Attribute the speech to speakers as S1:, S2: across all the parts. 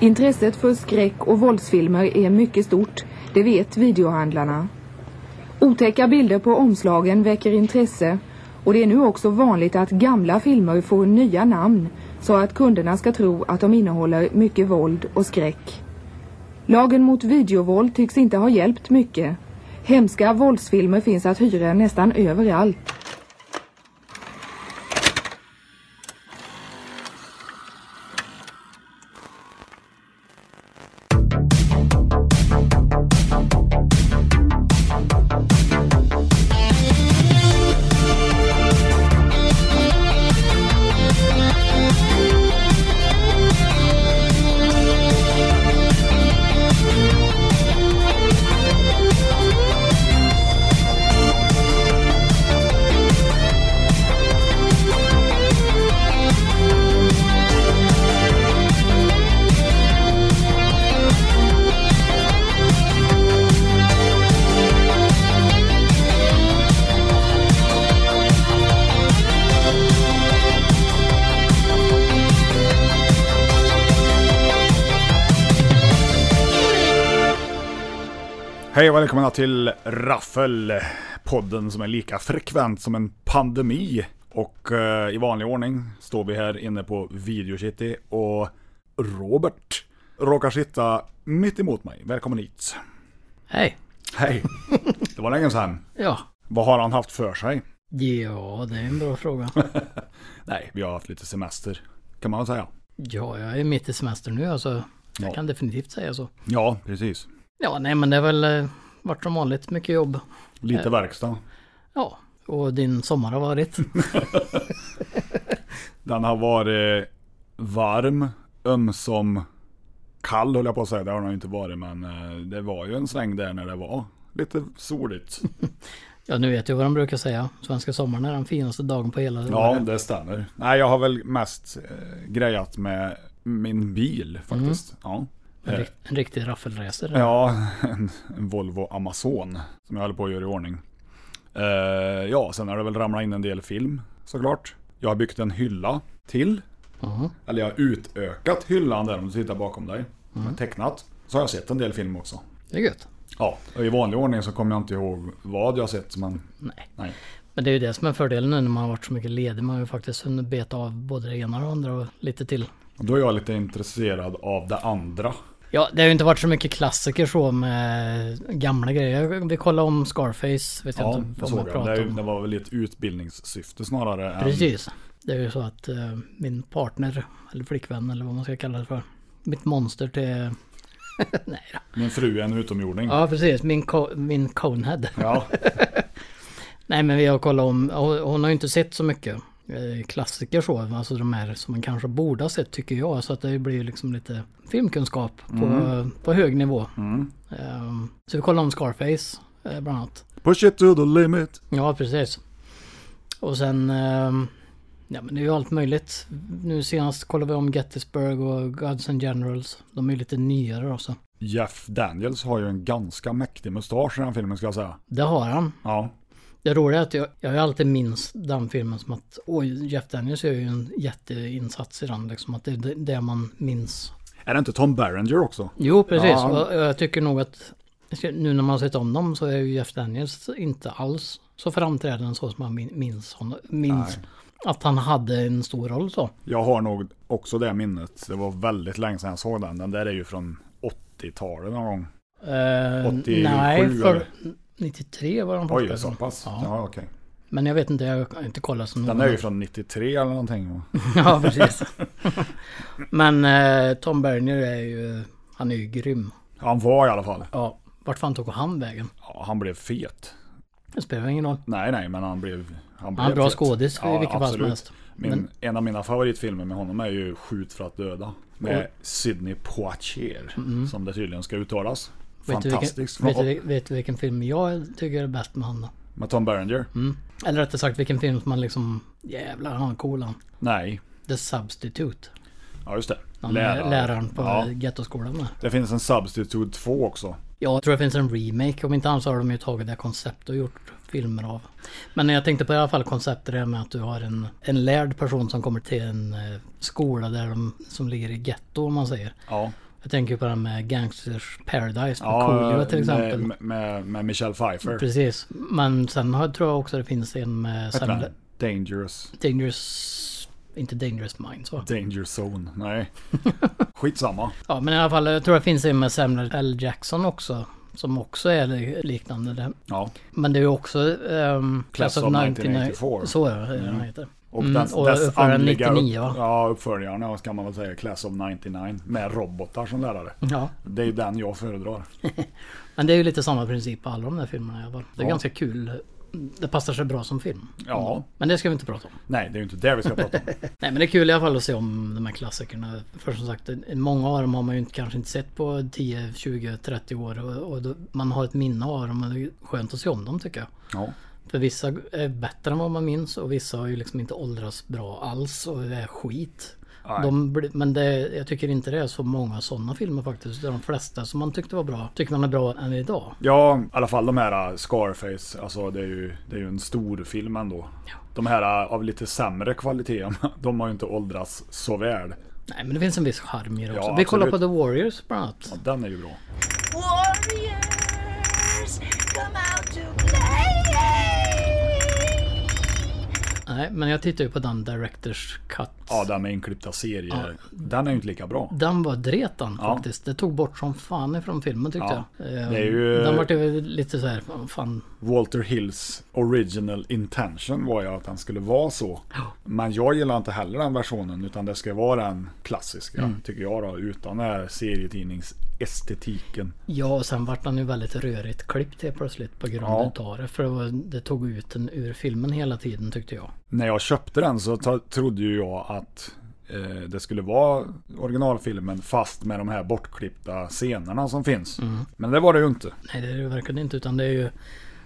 S1: Intresset för skräck och våldsfilmer är mycket stort, det vet videohandlarna. Otäcka bilder på omslagen väcker intresse och det är nu också vanligt att gamla filmer får nya namn så att kunderna ska tro att de innehåller mycket våld och skräck. Lagen mot videovåld tycks inte ha hjälpt mycket. Hemska våldsfilmer finns att hyra nästan överallt.
S2: Hej och välkomna till Raffel, podden som är lika frekvent som en pandemi. Och eh, i vanlig ordning står vi här inne på Video City och Robert råkar sitta mitt emot mig. Välkommen hit.
S3: Hej.
S2: Hej. Det var länge sedan.
S3: Ja.
S2: Vad har han haft för sig?
S3: Ja, det är en bra fråga.
S2: Nej, vi har haft lite semester kan man väl säga.
S3: Ja, jag är mitt i semester nu alltså. Jag
S2: Ja.
S3: kan definitivt säga så.
S2: Ja, precis.
S3: Ja, nej men det har väl eh, varit som vanligt mycket jobb.
S2: Lite verkstad.
S3: Ja, och din sommar har varit.
S2: Den har varit varm, ömsom kall höll jag på att säga. Det har den ju inte varit men eh, det var ju en sväng där när det var lite soligt.
S3: Ja, nu vet jag vad de brukar säga. Svenska sommaren är den finaste dagen på hela
S2: Ja,
S3: året.
S2: det stämmer. Nej, jag har väl mest eh, grejat med min bil faktiskt. Ja. Eh,
S3: En, rikt, en riktig raffelracer.
S2: Ja, en, en Volvo Amazon som jag håller på att göra i ordning. Eh, ja, sen har det väl ramlat in en del film såklart. Jag har byggt en hylla till.
S3: Mhm.
S2: Eller jag har utökat hyllan där om du tittar bakom dig. Med tecknat. Så har jag sett en del film också.
S3: Det är gött.
S2: Ja, och i vanlig ordning så kommer jag inte ihåg vad jag har sett men...
S3: Nej.
S2: Nej.
S3: Men det är ju det som är fördelen nu när man har varit så mycket ledig. Man har ju faktiskt hunnit beta av både det ena och det andra och lite till.
S2: Och Då är jag lite intresserad av det andra.
S3: Ja, det har ju inte varit så mycket klassiker så med gamla grejer. Vi kollade om Scarface, vet jag
S2: Ja,
S3: inte
S2: det
S3: om
S2: såg
S3: jag
S2: jag. Det,
S3: pratade
S2: är-
S3: om.
S2: det var väl ett utbildningssyfte snarare än...
S3: Precis. Det är ju så att eh, min partner, eller flickvän eller vad man ska kalla det för. Mitt monster till... Nej då.
S2: Min fru är en utomjording.
S3: Ja, precis. Min, co- min conehead.
S2: Ja.
S3: Nej, men vi har kollat om. Hon, hon har ju inte sett så mycket eh, klassiker så. Alltså de här som man kanske borde ha sett tycker jag. Så att det blir ju liksom lite filmkunskap på, på hög nivå. Eh, så vi kollade om Scarface eh, bland annat.
S2: Push it to the limit.
S3: Ja, precis. Och sen... ehm, Ja, men det är ju allt möjligt. Nu senast kollade vi om Gettysburg och Guns and Generals. De är ju lite nyare också.
S2: Jeff Daniels har ju en ganska mäktig mustasch i den filmen ska jag säga.
S3: Det har han.
S2: Ja.
S3: Det roliga är att jag, jag har ju alltid minns den filmen som att oj, Jeff Daniels gör ju en jätteinsats i den. Liksom, att det är det- det man minns.
S2: Är det inte Tom Berenger också?
S3: Jo, precis.
S2: Ja.
S3: Och jag tycker nog att nu när man har sett om dem så är ju Jeff Daniels inte alls så framträdande så som man min- minns honom. Minns att han hade en stor roll så.
S2: Jag har nog också det minnet. Det var väldigt länge sedan jag såg den. Den där är ju från 80-talet någon gång.
S3: Eh,
S2: 87
S3: Nej, för
S2: eller?
S3: 93 var de
S2: Oj,
S3: borta.
S2: så pass? Ja,
S3: Ja.
S2: okej.
S3: Men jag vet inte, jag har inte kollat så noga.
S2: Den är ju från 93 eller någonting. va?
S3: ja, precis. Men eh, Tom Bernier är ju, han är ju grym.
S2: Han var i alla fall.
S3: Ja, vart fan tog han vägen?
S2: Ja, han blev fet.
S3: Det spelar ingen roll.
S2: Nej, nej, men han blev... Han
S3: Han är bra
S2: fet.
S3: skådis i vilket fall som
S2: absolut.
S3: helst.
S2: Min,
S3: Men-
S2: En av mina favoritfilmer med honom är ju Skjut för att döda. Med
S3: Oj.
S2: Sidney Poitier, som det tydligen ska uttalas.
S3: Vet du, vilken,
S2: Fantastisk.
S3: vet, du, vet du vilken film jag tycker är bäst med honom?
S2: Med Tom Berenger?
S3: Mm. Eller rättare sagt vilken film som man liksom, jävlar han är cool han.
S2: Nej.
S3: The Substitute.
S2: Ja, just det.
S3: Han är Läraren på
S2: Ja.
S3: gettoskolan där.
S2: Det finns en Substitute 2 också.
S3: Jag tror det finns en remake. Om inte annars har de ju tagit det här konceptet och gjort filmer av. Men jag tänkte på i alla fall konceptet det här med att du har en, en lärd person som kommer till en eh, skola där de som ligger i getto om man säger.
S2: Ja.
S3: Jag tänker på den med Gangsters Paradise med Coolio till exempel.
S2: Med, med, med Michelle Pfeiffer.
S3: Precis. Men sen har, tror jag också det finns en med
S2: Heter
S3: Sam
S2: den? Dangerous.
S3: Dangerous... Inte Dangerous Minds va?
S2: Danger Zone. Nej. Skitsamma.
S3: Ja men i alla fall jag tror det finns en med Samuel L. Jackson också. Som också är liknande. det.
S2: Ja.
S3: Men det är ju också... ehm,
S2: Class of 1984.
S3: Så ja, den heter.
S2: Och
S3: Mm,
S2: dess,
S3: och
S2: dess
S3: uppföljaren
S2: andliga
S3: 99, va?
S2: ja, uppföljaren ja, ska man väl säga. Class of 99. Med robotar som lärare.
S3: Ja.
S2: Det är ju den jag föredrar.
S3: Men det är ju lite samma princip på alla de där filmerna i alla fall. Det är
S2: Ja.
S3: ganska kul. Det passar sig bra som film.
S2: Ja.
S3: Men det ska vi inte prata om.
S2: Nej, det är ju inte det vi ska prata om.
S3: Nej men det är kul i alla fall att se om de här klassikerna. För som sagt, många av dem har man ju inte, kanske inte sett på 10, 20, 30 år. Och, och då, man har ett minne av dem och det är skönt att se om dem tycker jag.
S2: Ja.
S3: För vissa är bättre än vad man minns och vissa har ju liksom inte åldrats bra alls och det är skit.
S2: Nej.
S3: De, blir- men det, jag tycker inte det är så många sådana filmer faktiskt. De flesta som man tyckte var bra tycker man är bra än idag.
S2: Ja, i alla fall de här äh, Scarface. Alltså det är ju, det är ju en stor film ändå. De här äh, av lite sämre kvalitet, de har ju inte åldrats så väl.
S3: Nej men det finns en viss charm i det också.
S2: Ja,
S3: Vi kollar på
S2: absolut.
S3: The Warriors bland annat.
S2: Ja, den är ju bra.
S4: Warriors, come out to play!
S3: Nej men jag tittar ju på den Directors Cut.
S2: Ja, den med inklippta serier. Den är ju inte lika bra.
S3: Den var dretan
S2: Ja.
S3: faktiskt. Det tog bort som fan ifrån filmen tyckte
S2: Ja.
S3: jag. Ehm,
S2: Det är ju-
S3: Den vart ju lite så här, fan, fan.
S2: Walter Hills original intention var ju att den skulle vara så. Men jag gillar inte heller den versionen utan det ska vara den klassiska tycker jag då. Utan den här serietidningsestetiken.
S3: Ja och sen vart den ju väldigt rörigt klippt helt plötsligt på grund
S2: Ja.
S3: utav det. För det, var, det tog ut den ur filmen hela tiden tyckte jag.
S2: När jag köpte den så ta- trodde ju jag att eh, det skulle vara originalfilmen fast med de här bortklippta scenerna som finns.
S3: Mm.
S2: Men det var det ju inte.
S3: Nej det är det verkligen inte utan det är ju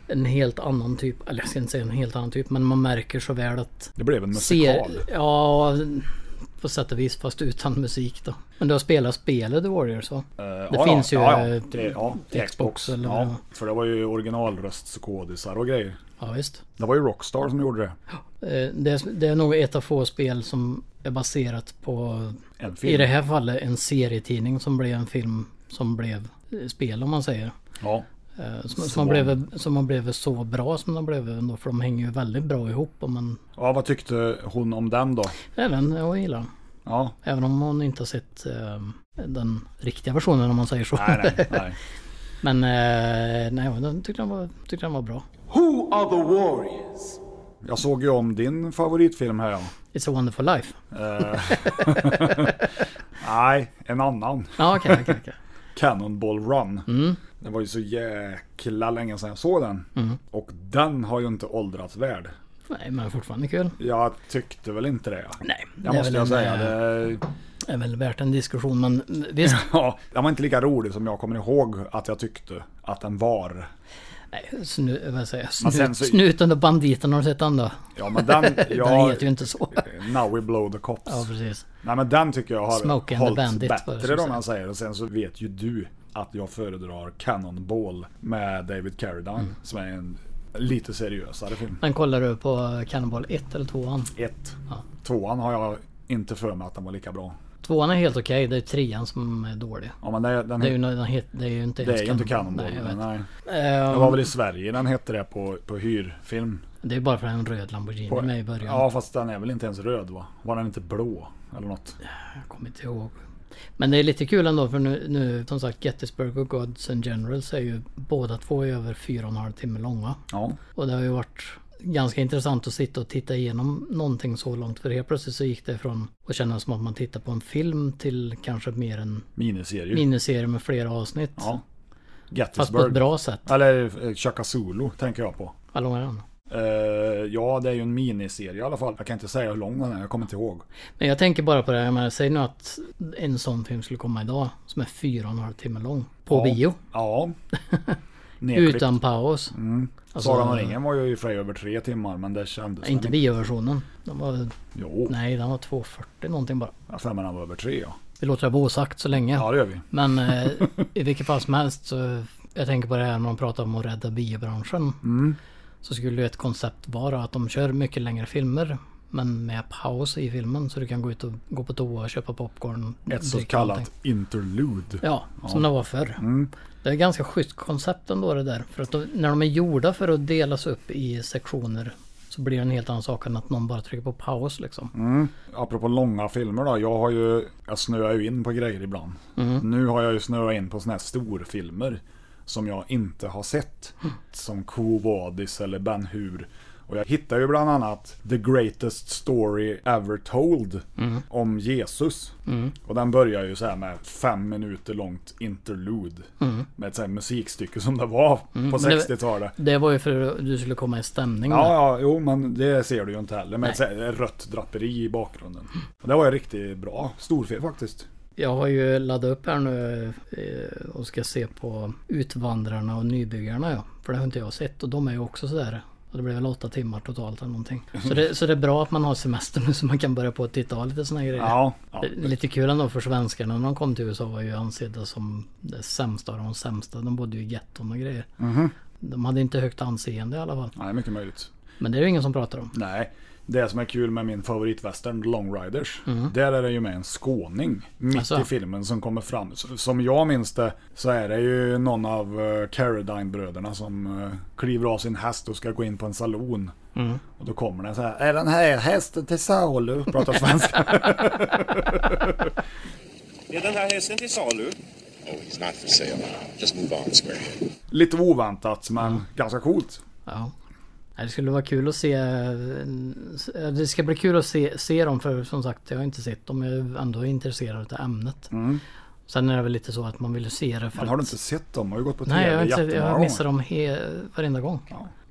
S3: en helt annan typ. Eller jag ska inte säga en helt annan typ men man märker så väl att
S2: Det blev en
S3: ser,
S2: musikal.
S3: Ja, på sätt och vis fast utan musik då. Men du har spelat spelet The Warriors va?
S2: Eh,
S3: det finns ju,
S2: Ja, ja.
S3: eh,
S2: Det, ja, till
S3: Xbox
S2: Xbox.
S3: eller vad det
S2: ja, för det var ju originalröstskådisar och grejer.
S3: Ja visst.
S2: Det var ju Rockstar som gjorde det.
S3: Eh, Det är, det är nog ett av få spel som är baserat på,
S2: En
S3: i
S2: film.
S3: det här fallet, en serietidning som blev en film som blev eh, spel om man säger.
S2: Ja.
S3: Eh, Som,
S2: Så.
S3: som, har blivit, som har blivit så bra som de blev ändå, för de hänger ju väldigt bra ihop. Om man,
S2: ja, vad tyckte hon om den då?
S3: även jag gillar den.
S2: Ja,
S3: Även om hon inte har sett eh, den riktiga versionen om man säger så.
S2: nej, nej, nej.
S3: Men eh, nej, den tyckte han var, tyckte han var bra.
S5: Who are the warriors?
S2: Jag såg ju om din favoritfilm här ja.
S3: It's a wonderful life.
S2: Eh, nej, en annan.
S3: Ja okej, okej, okej.
S2: Cannonball Run.
S3: Mm.
S2: Det var ju så jäkla länge sedan jag såg den.
S3: Mm.
S2: Och den har ju inte åldrats värd.
S3: Nej men fortfarande kul.
S2: Jag tyckte väl inte det.
S3: Nej, det är
S2: Jag måste
S3: väl
S2: jag
S3: en,
S2: säga.
S3: eh,
S2: Det,
S3: Det är väl värt en diskussion men visst.
S2: ja, den var inte lika rolig som jag kommer ihåg att jag tyckte att den var.
S3: Nej, snu, vad säger jag?
S2: Men sen
S3: Snut,
S2: så-
S3: Snuten och banditen har du sett den då?
S2: Ja, men den...
S3: Den
S2: Ja,
S3: heter ju inte så.
S2: Now we blow the cops.
S3: Ja precis.
S2: Nej men den tycker jag har
S3: Smoke and the
S2: hållit
S3: Bandit, var det
S2: bättre
S3: som
S2: då om man säger. Och sen så vet ju du att jag föredrar Cannonball med David Carradine.
S3: Mm.
S2: Som är en lite seriösare film.
S3: Men kollar du på Cannonball 1 eller 2?
S2: Ett. Tvåan har jag inte för mig att den var lika bra.
S3: 2 är helt okej, det är 3 som är dålig.
S2: Ja, men det, den,
S3: Det är ju, den het, det är ju inte ens
S2: inte Cannonball.
S3: Nej, jag
S2: Nej,
S3: vet.
S2: nej.
S3: Ehm,
S2: Det eh, var väl i Sverige den hette det på, på hyrfilm.
S3: Det är bara för en röd Lamborghini
S2: På,
S3: med i början.
S2: ja fast den är väl inte ens röd va? Var den inte blå? Eller något?
S3: Jag kommer inte ihåg. Men det är lite kul ändå för nu, nu som sagt Gettysburg och Gods and Generals är ju båda två över fyra och en halv timme långa.
S2: Ja.
S3: Och det har ju varit ganska intressant att sitta och titta igenom någonting så långt. För helt plötsligt så gick det från att känna som att man tittar på en film till kanske mer en
S2: Miniserie.
S3: miniserie med flera avsnitt.
S2: ja.
S3: Fast på ett
S2: Gettysburg.
S3: bra sätt.
S2: Eller eh, Chaka Zulu tänker jag på.
S3: Vad lång är den?
S2: Eh, ja, det är ju en miniserie i alla fall. Jag kan inte säga hur lång den är, jag kommer inte ihåg.
S3: Men jag tänker bara på det här, jag menar, säg nu att en sån film skulle komma idag som är fyra och en halv timme lång. På bio.
S2: Ja. Nerklippt.
S3: Utan paus.
S2: Mm.
S3: Alltså,
S2: Sagan om ringen var ju i och för sig över tre timmar, men det kändes...
S3: Inte
S2: den
S3: bioversionen. Den var,
S2: Jo,
S3: nej, den var 2.40 någonting bara.
S2: jag har för mig den var över tre ja.
S3: Vi låter det vara osagt så länge.
S2: Ja, det gör vi.
S3: Men eh, i vilket fall som helst så jag tänker på det här när man pratar om att
S2: Mm.
S3: rädda biobranschen. Så skulle ju ett koncept vara att de kör mycket längre filmer Men med paus i filmen så du kan gå ut och gå på toa och köpa popcorn.
S2: Ett så
S3: dricka någonting.
S2: kallat interlude.
S3: Ja, som det var förr.
S2: Mm.
S3: Det är ganska schysst koncept ändå det där. För att de, när de är gjorda för att delas upp i sektioner så blir det en helt annan sak än att någon bara trycker på paus liksom.
S2: Mm. Apropå långa filmer då, jag har ju, jag snöar ju in på grejer ibland.
S3: Mm.
S2: Nu har jag ju snöat in på såna här storfilmer som jag inte har sett. Som Quo Vadis eller Ben Hur. Och jag hittar ju bland annat The Greatest Story Ever Told
S3: Mm.
S2: om Jesus. Och den börjar ju så här med fem minuter långt interlude. Med ett så här musikstycke som det var på
S3: Mm. men det-
S2: 60-talet.
S3: Det var ju för att du skulle komma i stämning.
S2: Ja,
S3: där.
S2: ja, jo, men det ser du ju inte heller. Med ett så här rött draperi i bakgrunden. Och det var ju riktigt bra. Storfilm faktiskt.
S3: Jag har ju laddat upp här nu eh, och ska se på Utvandrarna och Nybyggarna ja. För det har inte jag sett och de är ju också sådär. Och det blir väl åtta timmar totalt eller någonting.
S2: Mm.
S3: Så det, så det är bra att man har semester nu så man kan börja på att titta på lite sådana grejer.
S2: Ja, ja.
S3: Det är Lite kul ändå för svenskarna när de kom till USA var ju ansedda som det sämsta av de sämsta. De bodde ju i getton och grejer.
S2: Mhm.
S3: De hade inte högt anseende i alla fall.
S2: Nej, mycket möjligt.
S3: Men det är ju ingen som pratar om.
S2: Nej. Det som är kul med min favoritwestern Long Riders. Där är det ju med en skåning. Mitt
S3: Alltså.
S2: i filmen som kommer fram. S- Som jag minns det så är det ju någon av eh, Carradine-bröderna som eh, kliver av sin häst och ska gå in på en saloon. Och då kommer den så här. Är den här hästen till salu? Pratar svenska.
S6: Är den här hästen till salu?
S7: Oh, he's not for sale. Just move on, Squarehead.
S2: Lite oväntat men ganska coolt.
S3: Ja. Nej, Det skulle vara kul att se. eh, Det ska bli kul att se, se dem för som sagt jag har inte sett dem. Jag är ju ändå intresserad av ämnet. Sen är det väl lite så att man vill ju se det för
S2: Mm. Men har du
S3: att-
S2: inte sett dem? Har ju gått på
S3: Nej, jag, har
S2: tv
S3: inte, jag har
S2: jättemånga
S3: missat
S2: gånger.
S3: dem he, varenda gång.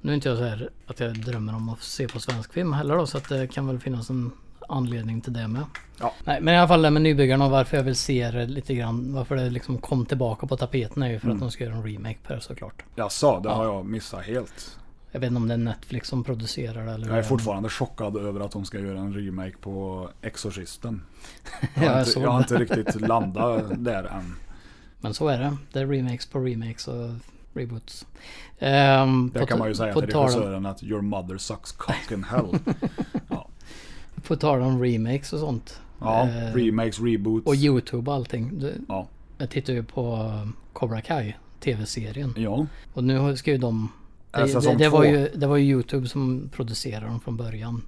S3: Nu är inte jag så här att jag drömmer om att se på svensk film heller då, så att det kan väl finnas en anledning till det med.
S2: Ja.
S3: Nej, men i alla fall det med nybyggarna och varför jag vill se det lite grann, varför det liksom kom tillbaka på tapeten är ju för
S2: Mm.
S3: att de ska göra en remake på det såklart.
S2: Jaså, det har jag missat helt.
S3: Jag vet inte om det är Netflix som producerar det eller
S2: Jag är
S3: hur.
S2: fortfarande chockad över att de ska göra en remake på Exorcisten.
S3: Ja,
S2: Jag har
S3: jag
S2: inte,
S3: såg
S2: jag har
S3: det.
S2: inte riktigt landat där än.
S3: Men så är det. Det är remakes på remakes och reboots. Ehm,
S2: Där
S3: på
S2: kan
S3: ta-
S2: man ju säga
S3: på
S2: till
S3: tal om-
S2: regissören att your mother sucks cock in hell.
S3: På tal om remakes och sånt.
S2: Ja,
S3: Eh,
S2: remakes, reboots.
S3: och Youtube och allting. Det-
S2: Ja.
S3: Jag tittar ju på Cobra Kai, tv-serien.
S2: ja.
S3: Och nu ska ju de...
S2: Äh,
S3: Det, det,
S2: Mm. säsong
S3: det, var
S2: två.
S3: ju, det var ju Youtube som producerade dem från början.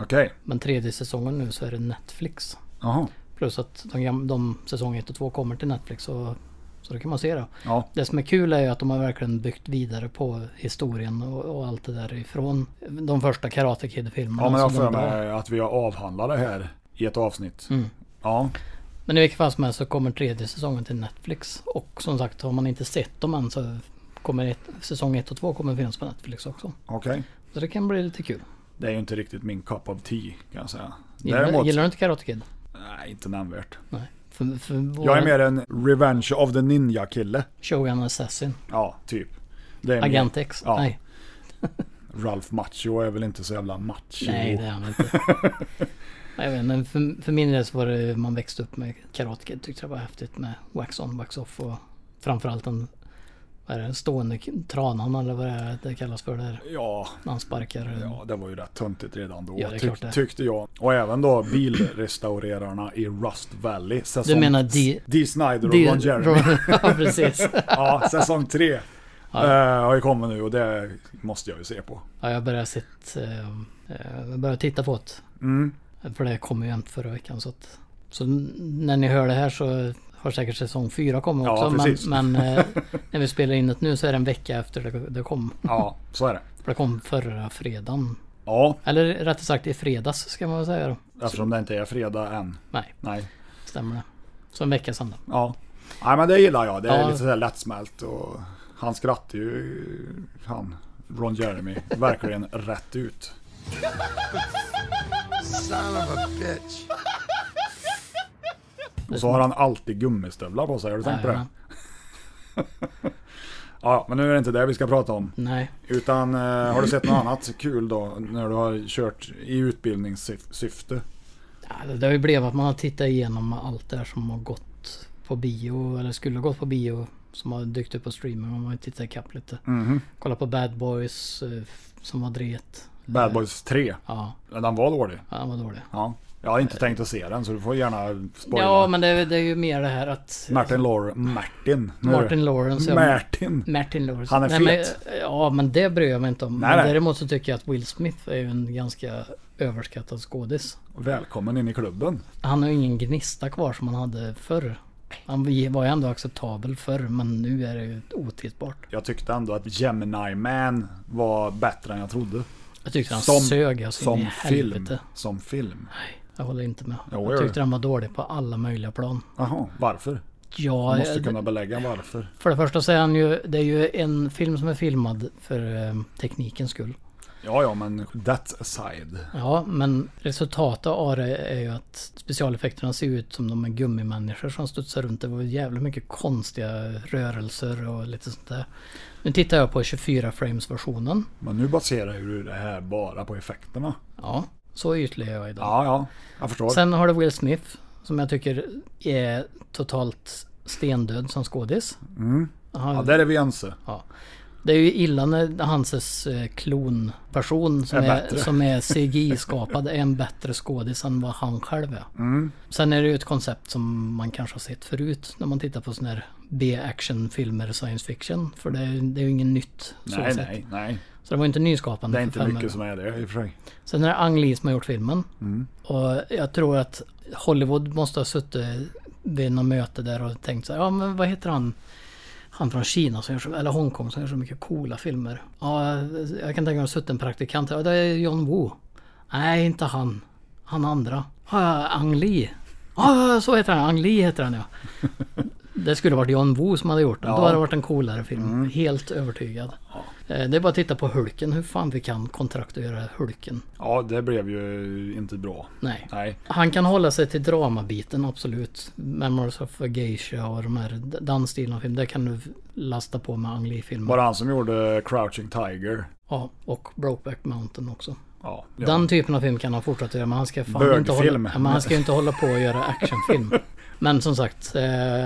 S2: Okej.
S3: Men tredje säsongen nu så är det Netflix.
S2: Jaha.
S3: Plus att de, gam- de säsong 1 och 2 kommer till Netflix. Så, så det kan man se då.
S2: Ja.
S3: Det som är kul är ju att de har verkligen byggt vidare på historien och, och allt det där ifrån de första Karate Kid-filmerna.
S2: ja, men jag har
S3: som
S2: för
S3: de Mm. var.
S2: mig att vi har avhandlat det här i ett avsnitt. Ja.
S3: Men i vilket fall som helst så kommer tredje säsongen till Netflix. Och som sagt, har man inte sett dem än så kommer ett, säsong 1 och 2 kommer finnas på Netflix också.
S2: Okej.
S3: Så det kan bli lite kul.
S2: Det är ju inte riktigt min cup of tea kan jag säga.
S3: Gillar,
S2: Däremot,
S3: gillar du inte Karate Kid?
S2: nej inte nämnvärt.
S3: Nej. För, för vår
S2: Jag är mer en Revenge of the Ninja-kille.
S3: Shogun Assassin.
S2: Ja, typ. Det är min-
S3: Agent X.
S2: Ja.
S3: Nej.
S2: Ralph Macho är väl inte så jävla macho.
S3: Nej, det är han inte. Nej, Jag vet, men för, för min del så var det man växte upp med Karate Kid. Tyckte det var häftigt med Wax On, Wax Off och framförallt den vad är det, stående k- tranan eller vad det, är, det kallas för där.
S2: Ja,
S3: När han sparkar.
S2: ja, det var ju rätt töntigt redan då.
S3: Ja, det är
S2: tyck-
S3: klart det.
S2: Tyckte jag. Och även då bilrestaurerarna i Rust Valley. Säsong
S3: Du menar D-
S2: D. Snyder och
S3: Det-
S2: Ron Jeremy.
S3: ja, precis.
S2: ja, säsong tre. eh, har ju kommit nu och det måste jag ju se på.
S3: Ja, jag börjar sett, eh, eh, jag börjar titta på det.
S2: Mm.
S3: För det kommer ju jämt förra veckan. Så, att, så n- när ni hör det här så har säkert säsong fyra kommit
S2: Ja,
S3: också.
S2: precis.
S3: men men eh, när vi spelar in det nu så är det en vecka efter det, det kom.
S2: Ja, så är det.
S3: För det kom förra fredagen.
S2: Ja,
S3: Eller rättare sagt i fredags ska man väl säga då.
S2: eftersom det inte är fredag än.
S3: Nej,
S2: Nej.
S3: stämmer det. Så en vecka sedan då.
S2: Ja. Nej men det gillar jag. Det är
S3: Ja.
S2: lite sådär lättsmält och han skrattar ju, han, Ron Jeremy, verkligen rätt ut. Och så har han alltid gummistövlar på sig, har du tänkt på det?
S3: Ja,
S2: Ja, men nu är det inte det vi ska prata om.
S3: Nej.
S2: Utan eh, har du sett något annat kul då, när du har kört i utbildningssyfte?
S3: Ja, Alltså, Det det har ju blivit att man har tittat igenom allt det här som har gått på bio eller skulle ha gått på bio som har
S2: Mhm.
S3: dykt upp på streaming. Man har ju tittat ikapp lite. Kolla på Bad Boys eh, som var dret.
S2: Bad Boys 3.
S3: Ja,
S2: Den var dålig.
S3: han var dålig.
S2: Ja. Jag har inte tänkt att se den så du får gärna spoila.
S3: Ja, men det, är- det är ju mer det här att...
S2: Martin Lawrence. Martin. Nu är det-
S3: Martin Lawrence. ja.
S2: Martin.
S3: Martin Lawrence.
S2: Han är
S3: Nej,
S2: fet.
S3: men, ja, men det bryr jag mig inte om.
S2: Nej,
S3: men
S2: nej.
S3: däremot så tycker jag att Will Smith är ju en ganska överskattad skådis.
S2: Välkommen in i klubben.
S3: Han har ju ingen gnista kvar som han hade förr. Han var ju ändå acceptabel förr, men nu är det ju otittbart.
S2: Jag tyckte ändå att Gemini Man var bättre än jag trodde.
S3: Jag tyckte han
S2: Som-
S3: sög alltså in i
S2: Som film.
S3: helvete.
S2: Som film.
S3: Jag håller inte med.
S2: Jo,
S3: jag
S2: gör
S3: tyckte
S2: det.
S3: den var dålig på alla möjliga plan.
S2: Jaha, varför?
S3: Ja,
S2: Måste
S3: jag-
S2: kunna belägga varför.
S3: för det första så är han ju, det är ju en film som är filmad för eh, teknikens skull.
S2: Ja, ja, men that aside.
S3: Ja, men resultatet av det är ju att specialeffekterna ser ut som de är gummimänniskor som studsar runt. Det var jävligt mycket konstiga rörelser och lite sånt där. Nu tittar jag på 24 frames versionen.
S2: Men nu baserar ju det här bara på effekterna.
S3: Ja, så ytlig är jag idag.
S2: Ja, ja, jag förstår.
S3: Sen har du Will Smith som jag tycker är totalt stendöd som skådis. Han-
S2: Ja, där är vi ense.
S3: Det är ju illa när Hanses eh, klonperson som
S2: Är
S3: är,
S2: bättre.
S3: som är CGI-skapad är en bättre skådis än vad han själv är.
S2: Mm.
S3: Sen är det ju ett koncept som man kanske har sett förut när man tittar på sådana här B-actionfilmer, science fiction. För det är, det är ju inget nytt. Så,
S2: Nej,
S3: sett.
S2: nej, nej.
S3: så det var ju inte nyskapande.
S2: Det är inte
S3: för fem
S2: mycket
S3: öre.
S2: som är det i och för sig.
S3: Sen är det Ang Lee som har gjort filmen. Och jag tror att Hollywood måste ha suttit vid något möte där och tänkt så här, ja men vad heter han? Han från Kina, som gör så, eller Hongkong, som gör så mycket coola filmer. Ja, jag kan tänka mig att ha suttit en praktikant här. Ja, det är John Woo. Nej, inte han. Han andra. Ja, Ang Lee. Ja, så heter han. Ang Lee heter han ja. Det skulle varit John Woo som hade gjort den. Då hade det varit en coolare film. Helt övertygad. Eh, Det är bara att titta på Hulken. Hur fan vi kan kontraktuera Hulken.
S2: Ja, det blev ju inte bra.
S3: Nej.
S2: Nej.
S3: Han kan hålla sig till dramabiten, absolut. Memories of a Geisha och de här den stilen av film. Det kan du lasta på med Ang Lee-filmer.
S2: Var det han som gjorde Crouching Tiger?
S3: Ja, och Brokeback Mountain också.
S2: Ja.
S3: Den typen av film kan han fortsätta göra, men han ska fan inte hålla,
S2: Bögfilm.
S3: ja, men han ska ju inte hålla på och göra actionfilm. Men som sagt, eh,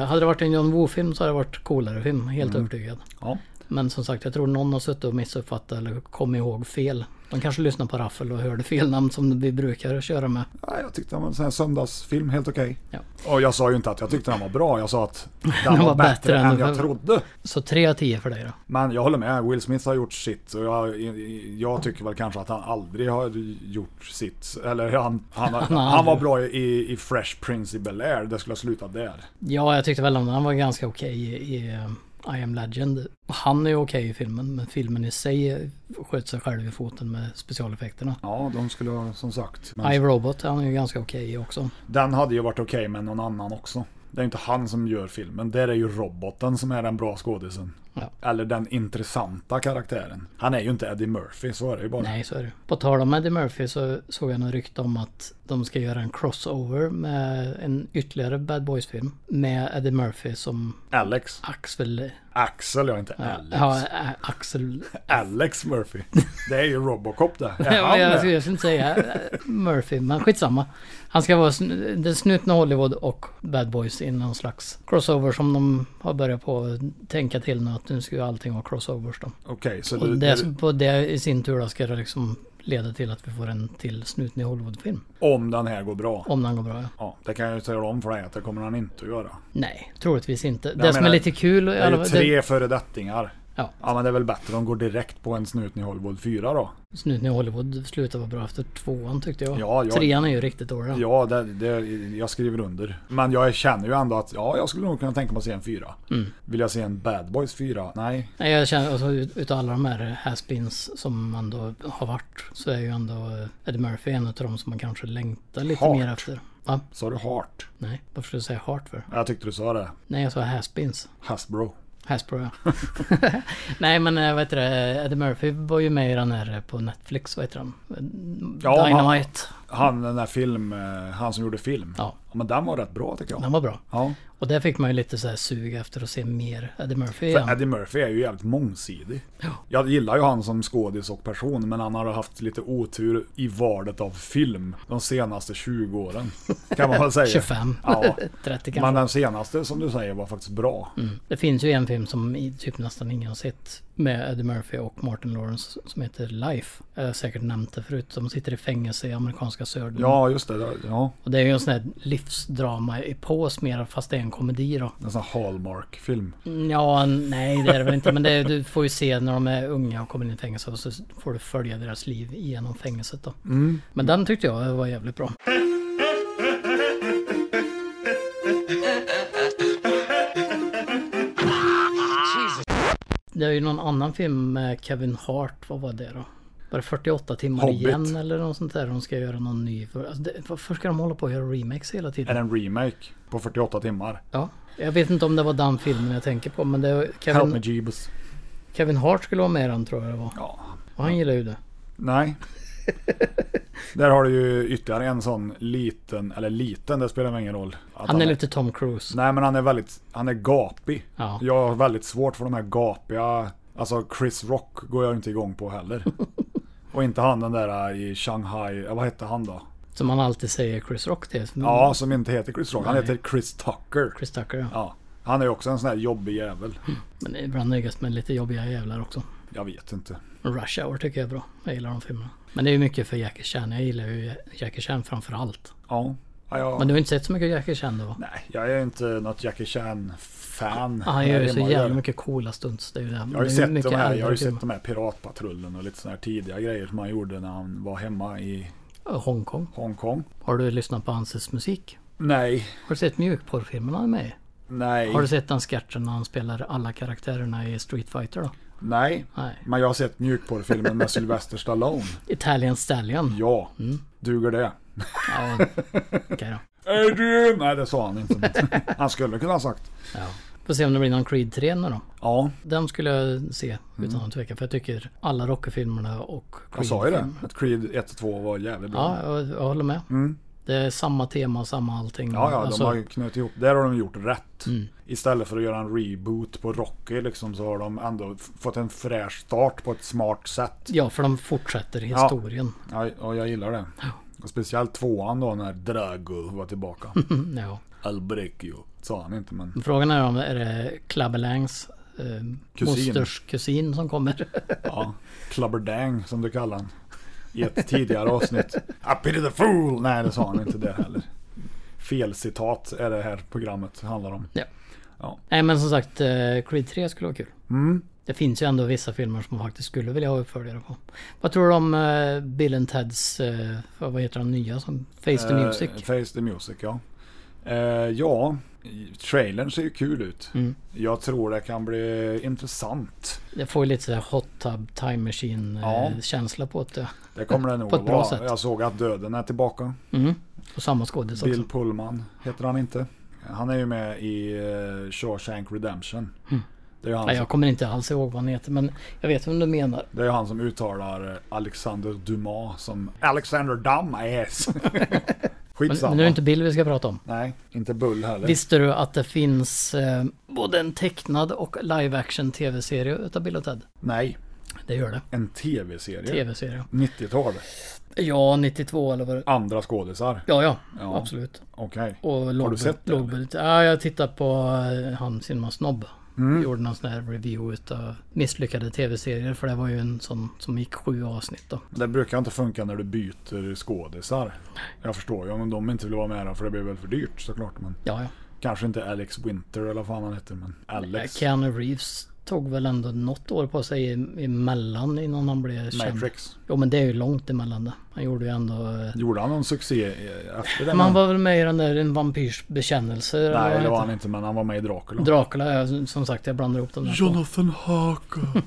S3: hade det varit en John Woo-film så hade det varit coolare film, helt övertygad.
S2: Mm. ja.
S3: Men som sagt, jag tror någon har suttit och missuppfattat eller kommit ihåg fel. De kanske lyssnade på Raffel och hörde fel namn som vi brukar köra med.
S2: Nej, jag tyckte det var en sån här söndagsfilm, helt okej.
S3: Ja.
S2: Och jag sa ju inte att jag tyckte den var bra, jag sa att den,
S3: Den
S2: var,
S3: var
S2: bättre,
S3: bättre
S2: än
S3: än
S2: jag
S3: den-
S2: trodde.
S3: Så 3 av 10 för dig då?
S2: Men jag håller med, Will Smith har gjort sitt. Och jag, jag tycker väl kanske att han aldrig har gjort sitt. Eller han, han, har-
S3: har
S2: han var
S3: aldrig-
S2: bra i, i Fresh Prince i Bel-Air, det skulle ha slutat där.
S3: Ja, jag tyckte väl om den. Han var ganska okej i, i eh, I am Legend. Han är ju okej i filmen, men filmen i sig sköt sig själv i foten med specialeffekterna.
S2: Ja, de skulle ha, som sagt. Men
S3: I Robot han är ju ganska okej i också.
S2: Den hade ju varit okej med någon annan också. Det är inte han som gör filmen, det är ju roboten som är den bra skådisen.
S3: Ja.
S2: Eller den intressanta karaktären. Han är ju inte Eddie Murphy, så är det ju bara.
S3: Nej, så är det. På tal om Eddie Murphy så såg jag något rykte om att de ska göra en crossover med en ytterligare Bad Boys-film. Med Eddie Murphy som
S2: Alex.
S3: Axel...
S2: Axel, ja inte Alex.
S3: Ja, Ä- Axel...
S2: Alex Murphy. Det är ju Robocop det. Är han
S3: Ja, jag, skulle,
S2: det?
S3: jag skulle inte säga eh, Murphy, men skitsamma. Han ska vara sn- den snutna Hollywood och Bad Boys i någon slags crossover som de har börjat på att tänka till nu att nu ska ju allting vara crossovers då.
S2: Okej, så
S3: Och
S2: du,
S3: det, på det i sin tur då ska det liksom leda till att vi får en till snuten i Hollywood-film.
S2: om den här går bra.
S3: Om den går bra ja.
S2: Ja, det kan jag ju säga om för dig att det kommer han inte att göra.
S3: Nej, troligtvis inte.
S2: Jag
S3: Det som är
S2: menar,
S3: lite kul...
S2: Det är ju tre föredettingar.
S3: Ja.
S2: ja, men det är väl bättre de går direkt på en snuten i Hollywood 4 då.
S3: Snuten i Hollywood slutar vara bra efter tvåan tyckte jag.
S2: Ja, jag-
S3: Trean är ju riktigt dålig. då.
S2: Ja, det, det, jag skriver under. Men jag känner ju ändå att ja, jag skulle nog kunna tänka mig att se en fyra.
S3: Mm.
S2: Vill jag se en Bad Boys 4? Nej.
S3: Nej, jag känner alltså ut- utav alla de här haspins som ändå har varit så är ju ändå eh, Eddie Murphy en av de som man kanske längtar lite
S2: Hart.
S3: mer efter. Va?
S2: Sa du Heart?
S3: Nej, varför skulle du säga Hart för?
S2: Jag tyckte du sa det.
S3: Nej, jag sa haspins.
S2: Hasbro.
S3: Hasbro ja. Nej men eh, vad heter det, Eddie Murphy var ju med i den här eh, på Netflix, vad heter den?
S2: Ja,
S3: Dynamite.
S2: Han den där film, eh, han som gjorde film.
S3: Ja.
S2: Men den var rätt bra tycker jag.
S3: Den var bra.
S2: Ja.
S3: Och där fick man ju lite så här sug efter att se mer Eddie Murphy
S2: För
S3: igen.
S2: Eddie Murphy är ju jävligt mångsidig. Jag gillar ju han som skådis och person, men han har haft lite otur i valet av film de senaste 20 åren. Kan man väl säga.
S3: 25,
S2: Ja.
S3: 30 kanske.
S2: Men den senaste som du säger var faktiskt bra.
S3: Det finns ju en film som i- typ nästan ingen har sett med Eddie Murphy och Martin Lawrence som heter Life. Jag har säkert nämnt det förut. De sitter i fängelse i amerikanska södern.
S2: Ja, just det. det- Ja,
S3: Och det är ju en sån här livsdrama epos mer fast det är en komedi då.
S2: en sån här Hallmark-film.
S3: Mm. Ja, nej det är det väl inte. Men det, du får ju se när de är unga och kommer in i fängelse och så får du följa deras liv genom fängelset då.
S2: Mm.
S3: Men den tyckte jag var jävligt bra. Det är ju någon annan film med Kevin Hart. Vad var det då? Var det 48 timmar
S2: Hobbit.
S3: igen eller något sånt där? De ska göra någon ny. För, alltså det, varför ska de hålla på och göra remakes hela
S2: Är
S3: tiden?
S2: det en remake på 48 timmar?
S3: Ja, jag vet inte om det var den filmen jag tänker på men det var
S2: Help
S3: Kevin,
S2: me Jeebus.
S3: Kevin Hart skulle vara med i den tror jag det var.
S2: Ja.
S3: Och han gillar ju det.
S2: Nej. Där har du ju ytterligare en sån liten, eller liten, det spelar väl ingen roll. Att
S3: Han är lite Tom Cruise.
S2: Nej men han är väldigt, han är gapig.
S3: Ja.
S2: Jag har väldigt svårt för de här gapiga, alltså Chris Rock går jag inte igång på heller. Och inte han den där äh, i Shanghai, ja, vad hette han då?
S3: Som han alltid säger Chris Rock till.
S2: Ja, som inte heter Chris Rock, han heter Chris Tucker.
S3: Mm. Chris Tucker ja.
S2: Ja. Han är ju också en sån här jobbig jävel.
S3: Men ibland nöjes med lite jobbiga jävlar också.
S2: Jag vet inte.
S3: Rush Hour tycker jag är bra. Jag gillar de filmerna. Men det är ju mycket för Jackie Chan. Jag gillar ju Jackie Chan framför allt.
S2: Ja. ja jag,
S3: Men du har inte sett så mycket Jackie Chan då?
S2: Nej, jag är inte något Jackie Chan-fan.
S3: Ah, Han gör ju
S2: Nej,
S3: så
S2: man
S3: jävla mycket coola stunts. Det är ju det.
S2: Jag har ju,
S3: det är
S2: sett de, här, jag har ju
S3: äldre typ.
S2: sett de här Piratpatrullen och lite såna här tidiga grejer som han gjorde när han var hemma i
S3: filmer. Hongkong.
S2: Hongkong.
S3: Har du lyssnat på hans musik?
S2: Nej,
S3: Har du sett mjukporrfilmerna han är med i?
S2: nej,
S3: Har du sett den sketchen när han spelar alla karaktärerna i Street Fighter då?
S2: nej.
S3: Nej.
S2: Men jag har sett mjukporrfilmen med Sylvester Stallone.
S3: Italian Stallion.
S2: Ja,
S3: Mm.
S2: duger det?
S3: Ja, okej då.
S2: Adrian! Nej, det sa han inte. Han skulle kunna ha sagt.
S3: Ja. Får se om det blir någon Creed 3 nu då.
S2: Ja,
S3: Den skulle jag se utan att tveka. För jag tycker alla Rocky-filmerna och Creed.
S2: Mm. jag sa ju det. Att Creed 1 och 2 var jävligt bra.
S3: Ja, jag, jag håller med. Det är samma tema, samma allting.
S2: Mm. Ja, ja,
S3: Alltså,
S2: de har ju knutit ihop. Där har de gjort rätt. Istället för att göra en reboot på Rocky liksom, så har de ändå f- fått en fräsch start på ett smart sätt.
S3: ja, för de fortsätter historien.
S2: Ja, och jag gillar det. Och speciellt tvåan då när Drago var tillbaka.
S3: Mm, ja.
S2: Albrecchio sa han inte men...
S3: Frågan är om är det Clubbelangs eh,
S2: Kusin.
S3: mosters kusin som kommer.
S2: Ja, Clubberdang som du kallar han. I ett tidigare avsnitt. I pity the fool! Nej, det sa han inte det heller. Fel citat är det här programmet handlar om.
S3: ja.
S2: Ja. Mm.
S3: Nej, men som sagt, eh, Creed 3 skulle vara kul. Det finns ju ändå vissa filmer som man faktiskt skulle vilja ha uppföljare på. Vad tror du om eh, Bill and Teds, eh, vad heter den nya som Face to
S2: Eh,
S3: Music?
S2: Face the Music, ja. Eh, ja, i- trailern ser ju kul ut.
S3: Mm.
S2: Jag tror det kan bli intressant.
S3: Jag får ju lite sådär hot tub time machine
S2: Ja.
S3: eh, känsla på det.
S2: Det kommer det nog
S3: På ett
S2: att
S3: bra
S2: vara.
S3: sätt.
S2: Jag såg att Döden är tillbaka.
S3: Och samma skådis
S2: Bill
S3: också.
S2: Pullman heter han inte. Han är ju med i eh, Shawshank Redemption. Det är ju han,
S3: Nej,
S2: som,
S3: Mm. jag kommer inte alls ihåg vad han heter men jag vet vem du menar.
S2: det är ju han som uttalar eh, Alexander Dumas som Alexander Dumas.
S3: Men,
S2: Skitsamma.
S3: men nu är det inte Bill vi ska prata om.
S2: Nej, inte Bull heller.
S3: Visste du att det finns eh, både en tecknad och live action tv-serie utav Bill och Ted?
S2: Nej,
S3: Det gör det.
S2: en tv-serie.
S3: Tv-serie.
S2: 90-tal.
S3: Ja, 92 eller vad det
S2: Andra skådisar.
S3: Ja, ja.
S2: Ja.
S3: Absolut.
S2: Okej.
S3: Och låg,
S2: Har du sett det?
S3: låg, Ja, jag tittade på eh, han Cinema Snobb.
S2: Mm.
S3: Gjorde någon sån här review utav misslyckade tv-serier. För det var ju en sån som gick sju avsnitt då.
S2: Det brukar inte funka när du byter skådisar. Jag förstår ju om de inte vill vara med då, för det blir väl för dyrt såklart. Men
S3: Ja, ja.
S2: kanske inte Alex Winter eller vad fan han heter. Men Alex.
S3: Eh, Keanu Reeves tog väl ändå något år på sig i- emellan innan han blev känd.
S2: Matrix.
S3: Jo men det är ju långt emellan det. Han gjorde ju ändå... eh,
S2: Gjorde han någon succé eh, efter det?
S3: Men han var väl med i den där En vampyrs bekännelse? eller vad
S2: Nej, det
S3: heter.
S2: var han inte, men han var med i Dracula.
S3: Dracula, ja, som sagt jag blandar ihop dem där. två.
S2: Jonathan Harker.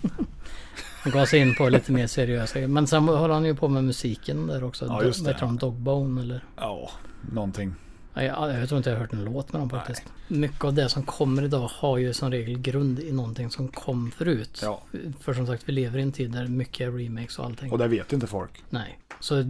S3: Han gav sig in på lite mer seriösa Men sen höll han ju på med musiken där också.
S2: Ja, just det.
S3: Vad heter de? Dogbone eller?
S2: ja, någonting.
S3: Nej, Jag, jag tror inte jag har hört en låt med dem faktiskt. Mycket av det som kommer idag har ju som regel grund i någonting som kom förut.
S2: Ja.
S3: För som sagt, vi lever i en tid där mycket är remakes och allting.
S2: Och det vet inte folk.
S3: Nej. Så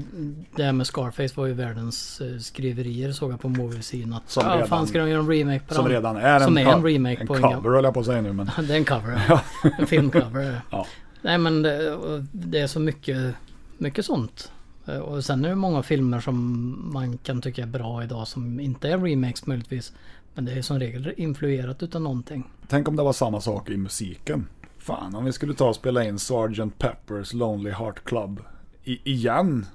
S3: det här med Scarface var ju världens eh, skriverier såg jag på Moviescene. Att
S2: Som
S3: som redan,
S2: redan-
S3: fan ska de göra en remake på
S2: Som
S3: den?"
S2: redan är en,
S3: Som är en
S2: co-
S3: remake
S2: en
S3: på en
S2: cover
S3: gam-
S2: höll jag på att säga nu men.
S3: Det är en cover. Ja. En filmcover.
S2: Ja.
S3: Nej men det, och det är så mycket, mycket sånt. Eh, Och sen är det många filmer som man kan tycka är bra idag som inte är remakes möjligtvis. Men det är som regel influerat utav någonting.
S2: Tänk om det var samma sak i musiken. Fan, om vi skulle ta och spela in Sgt. Pepper's Lonely Heart Club i, igen.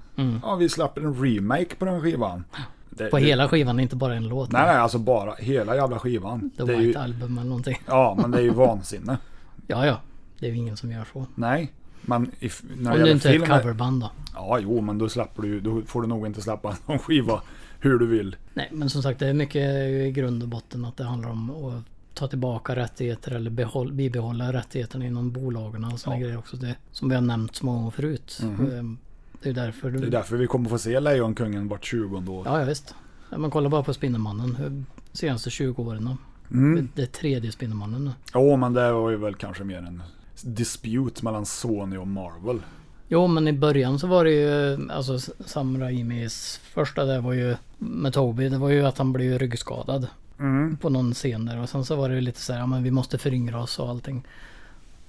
S2: Ja, vi släpper en remake på den skivan. Det-
S3: Mm. På
S2: det-
S3: hela skivan, inte bara en låt.
S2: Nej, nej, alltså bara hela jävla skivan.
S3: The
S2: det är
S3: White
S2: ju,
S3: Album eller någonting.
S2: ja, men det är ju vansinne.
S3: Ja, ja. Det är ju ingen som gör så.
S2: Nej, men if, när det
S3: Om det
S2: gäller
S3: inte är ett
S2: filmer-
S3: coverband då.
S2: Ja, jo, men då släpper du ju- då får du nog inte släppa någon skiva hur du vill.
S3: Nej, men som sagt det är mycket i grund och botten att det handlar om att ta tillbaka rättigheter eller behåll, bibehålla rättigheterna inom bolagen och sådana grejer också. Det, som vi har nämnt så många gånger förut. Ehm, Det är därför...
S2: Mhm. Det
S3: Du,
S2: är därför vi kommer få se Lejonkungen vart 20 år.
S3: Ja, ja visst. Ja, Man kollar bara på Spindelmannen. hur- Senaste 20 åren. Mm. Det är tredje Spindelmannen nu.
S2: Jo, men det var ju väl kanske mer en dispute mellan Sony och Marvel.
S3: Jo, men i början så var det ju... Alltså Sam Raimis första där var ju... Med Toby, det var ju att han blev ryggskadad.
S2: Mm.
S3: På någon scen där. Och sen så var det ju lite så här, ja men vi måste föryngra oss och allting.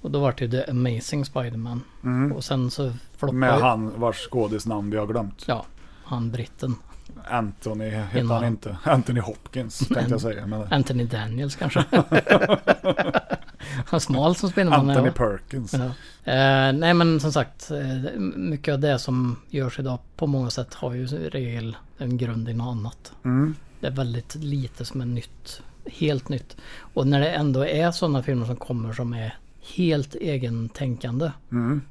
S3: Och då var det ju The Amazing Spider-Man. Och sen så floppade...
S2: Mm. Med han vars skådisnamn vi har glömt.
S3: Ja, han britten.
S2: Anthony hette
S3: Innan.
S2: han inte. Anthony Hopkins tänkte jag säga. Men
S3: Anthony Daniels kanske. han smal som Spindelmannen.
S2: Anthony
S3: ja.
S2: Perkins.
S3: Ja. Eh, nej men som sagt, eh, mycket av det som görs idag på många sätt har ju i regel en grund i något annat. Det är väldigt lite som är nytt. Helt nytt. Och när det ändå är sådana filmer som kommer som är helt egentänkande.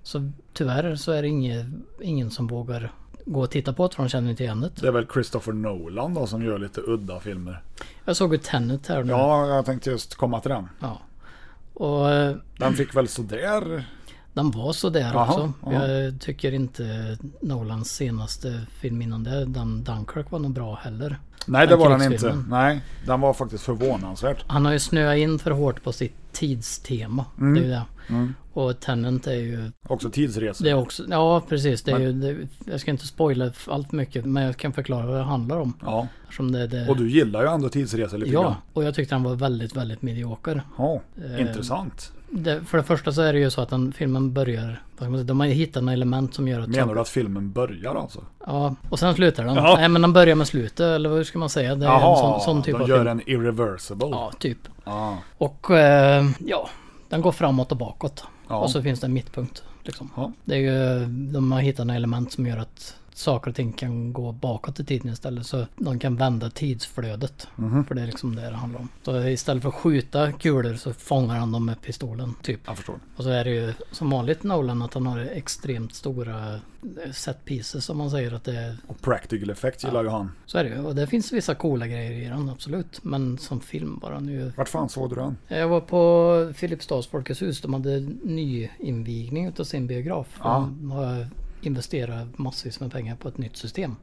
S3: Så tyvärr så är det inge, ingen som vågar gå och titta på det för de känner inte igen det.
S2: Det är väl Christopher Nolan då som gör lite udda filmer.
S3: Jag såg ju Tenet här nu.
S2: Ja, jag tänkte just komma till den.
S3: Ja. Och eh,
S2: Den fick väl sådär.
S3: Den var sådär
S2: Jaha,
S3: också.
S2: jaha.
S3: Jag tycker inte Nolans senaste film innan det, den Dunkirk var nog bra heller.
S2: Nej, det var den inte.
S3: krigsfilmen.
S2: Nej, den var faktiskt förvånansvärt.
S3: Han har ju snöat in för hårt på sitt tidstema. Det är
S2: Mm.
S3: ju det. Och Tenant är ju...
S2: Också tidsresor.
S3: Det är också... Ja, precis. Det är ju, det, jag ska inte spoila allt mycket, men jag kan förklara vad det handlar om.
S2: Ja.
S3: Eftersom det, det,
S2: Och du gillar ju ändå tidsresor lite
S3: Ja, Eh,
S2: grann.
S3: och jag tyckte han var väldigt, väldigt medioker.
S2: Ja. Intressant.
S3: Det, för det första så är det ju så att den filmen börjar... vad ska man säga, De har ju hittat en element som gör att...
S2: Menar du att filmen börjar alltså?
S3: Ja, och sen slutar den.
S2: Ja.
S3: Nej men den börjar med slutet eller hur ska man säga? Det är en sån, sån typ
S2: de
S3: av
S2: gör
S3: film.
S2: en irreversible.
S3: Ja, typ.
S2: Ja.
S3: Och eh, ja, den går framåt och bakåt.
S2: Ja.
S3: Och så finns det en mittpunkt. Liksom.
S2: Ja.
S3: Det är ju, de har hittat några element som gör att saker och ting kan gå bakåt i tiden istället. Så de kan vända tidsflödet.
S2: Mhm.
S3: För det är liksom det det handlar om. Så istället för att skjuta kulor så fångar han dem med pistolen. Typ.
S2: Jag förstår.
S3: Och så är det ju som vanligt Nolan att han har extremt stora eh, set pieces som man säger att det är
S2: Och practical effect gillar ju han.
S3: Så är det ju. Och det finns vissa coola grejer i den, absolut. Men som film bara nu.
S2: Vart fan såg du den?
S3: Jag var på Filipstads Folkets hus. De hade nyinvigning utav sin biograf. De har investerat massvis med pengar på ett nytt system.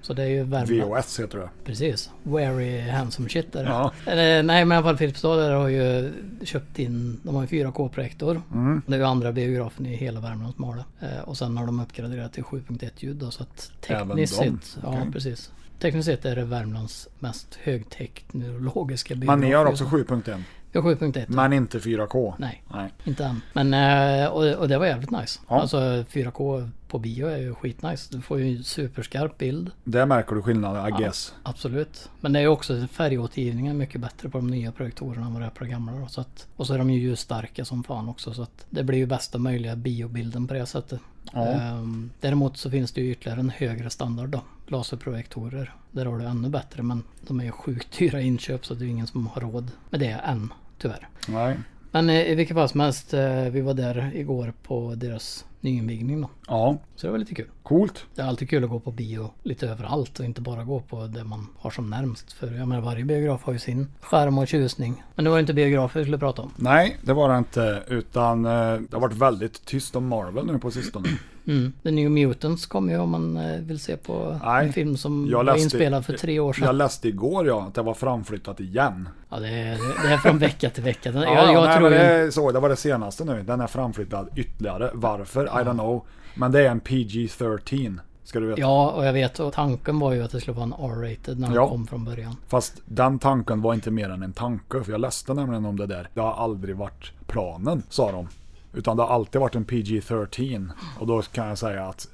S3: Så det är ju Värmland.
S2: VHS heter det.
S3: Precis. Very handsome shit där.
S2: Ja.
S3: Eller, nej men i alla fall Filipstad där har ju köpt in, de har ju 4K-projektor.
S2: Mm.
S3: Det är ju andra biografen i hela Värmland som har det. Eh, och sen har de uppgraderat till 7.1 ljud då, så att
S2: Även
S3: tekniskt
S2: de?
S3: sett, ja precis. Tekniskt sett är det Värmlands mest högteknologiska biograf.
S2: Men ni har också
S3: just
S2: 7.1.
S3: nu. Ja, 7.1.
S2: Men inte 4K.
S3: Nej.
S2: Nej.
S3: Inte än. Men, eh, och, och det var jävligt nice.
S2: Ja.
S3: Alltså 4K på bio är ju skitnice. Du får ju superskarp bild.
S2: Där märker du skillnaden, I guess.
S3: Absolut. Men det är ju också färgåtergivningen mycket bättre på de nya projektorerna än vad det är på de gamla. Då, så att, och så är de ju ljusstarka som fan också så att det blir ju bästa möjliga biobilden på det sättet. Ehm, däremot så finns det ju ytterligare en högre standard då. Laserprojektorer. Där har du ännu bättre men de är ju sjukt dyra inköp så det är ju ingen som har råd med det än. Tyvärr.
S2: Nej.
S3: Men eh, i vilket fall som helst, eh, vi var där igår på deras nyinvigning då.
S2: Ja,
S3: Så det var lite kul.
S2: coolt.
S3: Det är alltid kul att gå på bio lite överallt och inte bara gå på det man har som närmst. För jag menar varje biograf har ju sin skärm och tjusning. Men det var ju inte biografer vi skulle prata om.
S2: Nej, det var det inte. Utan eh, det har varit väldigt tyst om Marvel nu på sistone.
S3: Mm. The New Mutants kom ju om man eh, vill se på
S2: Nej,
S3: en film som
S2: jag
S3: var
S2: läste-
S3: inspelad för tre år sedan.
S2: Jag läste igår ja, att det var framflyttat igen.
S3: Ja, det, är, det är från vecka till vecka. Den-
S2: Ja,
S3: jag jag
S2: nej,
S3: tror
S2: men det,
S3: ju...
S2: är så, det var det senaste nu. Den är framflyttad ytterligare. Varför? I don't know. Men det är en PG-13. Ska du veta.
S3: Ja, och jag vet. Och tanken var ju att det skulle vara en R-rated när den
S2: Ja.
S3: kom från början.
S2: Fast den tanken var inte mer än en tanke. För jag läste nämligen om det där. Det har aldrig varit planen, sa de. Utan det har alltid varit en PG-13. Och då kan jag säga att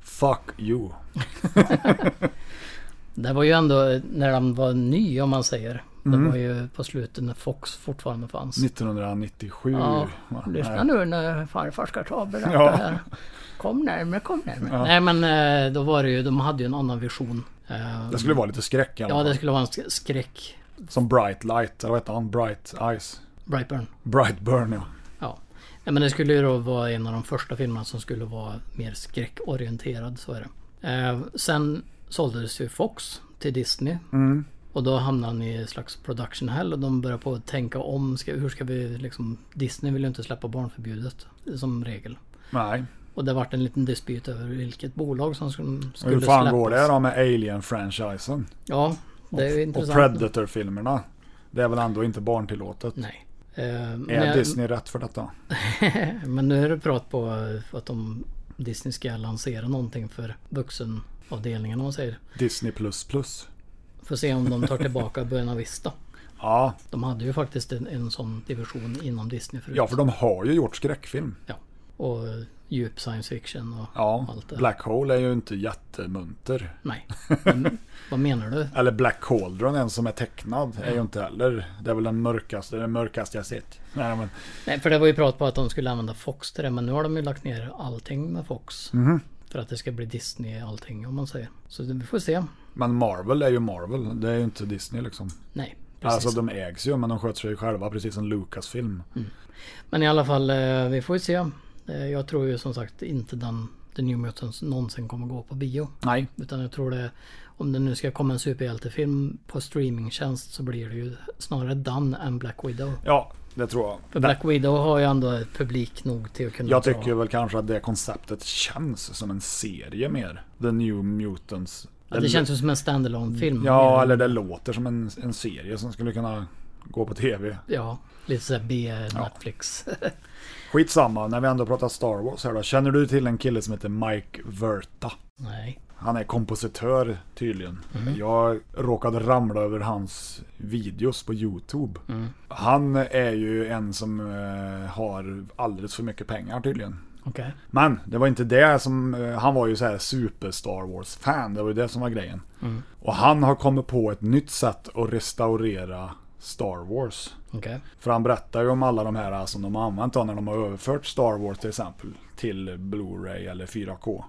S2: Fuck you.
S3: Det var ju ändå eh, när den var ny om man säger.
S2: Mm.
S3: Det var ju på slutet när Fox fortfarande fanns.
S2: 1997.
S3: Ja,
S2: Va?
S3: lyssna
S2: Nej.
S3: nu när farfar ska ta och berätta
S2: Ja.
S3: här. Kom närmare, kom närmare. Nej men eh, då var det ju, de hade ju en annan vision. Eh,
S2: Det skulle vara lite skräck i alla
S3: Ja,
S2: fall.
S3: det skulle vara en sk- skräck.
S2: Som Bright Light, eller vad heter han? Bright Eyes.
S3: Brightburn.
S2: Bright Burn ja.
S3: Ja. Nej, men det skulle ju då vara en av de första filmerna som skulle vara mer skräckorienterad, så är det. Eh, sen såldes ju Fox till Disney. Och då hamnade han i en slags production hell och de började på att tänka om. Ska, hur ska vi liksom... Disney vill ju inte släppa barnförbjudet som regel.
S2: Nej.
S3: Och det vart en liten dispyt över vilket bolag som skulle,
S2: Och
S3: skulle
S2: Hur fan
S3: släppas.
S2: går det då med Alien-franchisen?
S3: Ja, det är ju
S2: Och
S3: intressant.
S2: Predator-filmerna? Det är väl ändå inte barntillåtet?
S3: Nej. Eh, men,
S2: Är
S3: jag,
S2: Disney rätt för detta?
S3: men nu är det prat på eh, att de Disney ska lansera någonting för vuxenavdelningen om man säger.
S2: Disney++. plus plus. Får
S3: Får se om de tar tillbaka Buena Vista.
S2: Ja,
S3: De hade ju faktiskt en, en sån division inom Disney förut.
S2: ja, för de har ju gjort skräckfilm.
S3: Ja. Och eh, djup science fiction och
S2: Ja,
S3: allt det.
S2: Black Hole är ju inte jättemunter.
S3: Nej. Men, vad menar du?
S2: Eller Black Cauldron, en som är tecknad, är ju inte heller... Det är väl den mörkaste, den mörkaste jag sett. Nej, men
S3: Nej, för det var ju prat på att de skulle använda Fox till det, men nu har de ju lagt ner allting med Fox.
S2: Mhm.
S3: För att det ska bli Disney allting om man säger. Så det, vi får se.
S2: Men Marvel är ju Marvel, det är ju inte Disney liksom.
S3: Nej, precis.
S2: Alltså de ägs ju men de sköter sig själva precis som Lucasfilm.
S3: Mm. Men i alla fall, eh, vi får ju se. Eh, Jag tror ju som sagt inte den The New Mutants någonsin kommer gå på bio.
S2: Nej.
S3: Utan jag tror det, om det nu ska komma en superhjältefilm på streamingtjänst så blir det ju snarare den än Black Widow.
S2: Ja, det tror jag.
S3: För Black Widow har ju ändå publik nog till att kunna
S2: Jag
S3: dra-
S2: tycker väl kanske att det konceptet känns som en serie mer. The New Mutants.
S3: Ja, det känns ju som en standalone film
S2: Ja, eller det låter som en, en serie som skulle kunna gå på tv.
S3: Ja, lite såhär B-Netflix.
S2: Skitsamma, när vi ändå pratar Star Wars här då. Känner du till en kille som heter Mike Verta?
S3: Nej.
S2: Han är kompositör tydligen. Jag råkade ramla över hans videos på Youtube. Han är ju en som eh, har alldeles för mycket pengar tydligen.
S3: Okej.
S2: Men det var inte det som, eh, han var ju så här super Star Wars-fan, det var ju det som var grejen. Och han har kommit på ett nytt sätt att restaurera Star Wars.
S3: Okej.
S2: För han berättar ju om alla de här som de har använt då, när de har överfört Star Wars till exempel till Blu-ray eller 4K.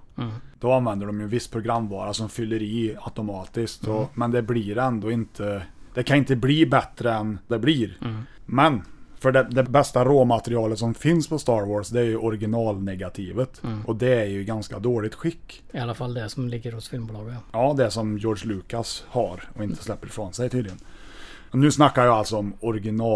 S2: Då använder de ju en viss programvara som fyller i automatiskt. Och, men det blir ändå inte... Det kan inte bli bättre än det blir. Men, för det, det bästa råmaterialet som finns på Star Wars det är ju originalnegativet. Och det är ju i ganska dåligt skick.
S3: I alla fall det som ligger hos filmbolaget.
S2: Ja, det som George Lucas har och inte släpper ifrån sig tydligen. Nu snackar jag alltså om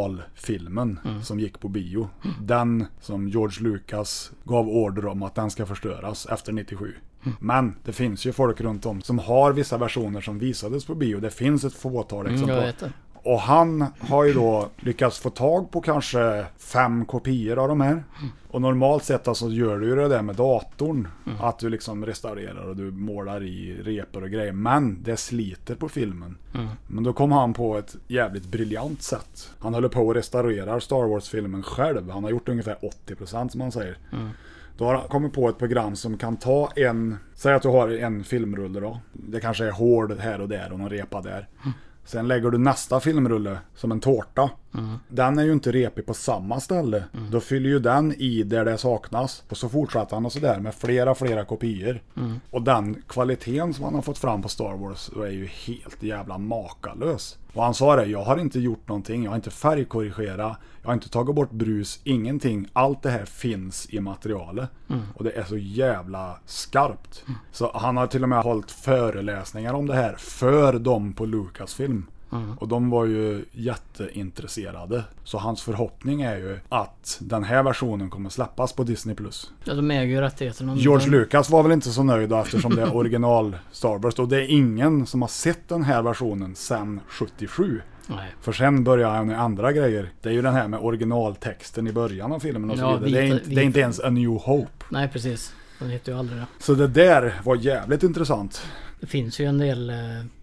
S2: originalfilmen
S3: Mm.
S2: som gick på bio. Den som George Lucas gav order om att den ska förstöras efter 97.
S3: Mm.
S2: Men det finns ju folk runt om som har vissa versioner som visades på bio. Det finns ett fåtal exemplar.
S3: Mm, jag vet det.
S2: Och han har ju då lyckats få tag på kanske fem kopior av de här. Och normalt sett alltså gör du ju det där med datorn. Att du liksom restaurerar och du målar i repor och grejer. Men det sliter på filmen. Men då kom han på ett jävligt briljant sätt. Han håller på och restaurerar Star Wars-filmen själv. Han har gjort ungefär 80% som han säger. Då har han kommit på ett program som kan ta en, säg att du har en filmrulle då. Det kanske är hård här och där och någon repa där. Sen lägger du nästa filmrulle som en tårta. Den är ju inte repig på samma ställe. Då fyller ju den i där det saknas. Och så fortsätter han och sådär med flera, flera kopior. Och den kvaliteten som han har fått fram på Star Wars är ju helt jävla makalös. Och han sa det, jag har inte gjort någonting, jag har inte färgkorrigerat, jag har inte tagit bort brus, ingenting. Allt det här finns i materialet. Och det är så jävla skarpt. Så han har till och med hållit föreläsningar om det här för dem på Lucasfilm. Och de var ju jätteintresserade. Så hans förhoppning är ju att den här versionen kommer släppas på Disney+.
S3: Ja, de äger ju rättigheterna. men
S2: George
S3: de-
S2: Lucas var väl inte så nöjd då, eftersom det är original Star Wars. Och det är ingen som har sett den här versionen sedan 77.
S3: Nej.
S2: För sen börjar han med andra grejer. Det är ju den här med originaltexten i början av filmen och så
S3: Ja,
S2: vidare. det, är
S3: vita-
S2: inte, det är inte
S3: vita.
S2: ens A New Hope.
S3: Nej, precis. De heter ju aldrig det.
S2: Så det där var jävligt intressant.
S3: Det finns ju en del eh,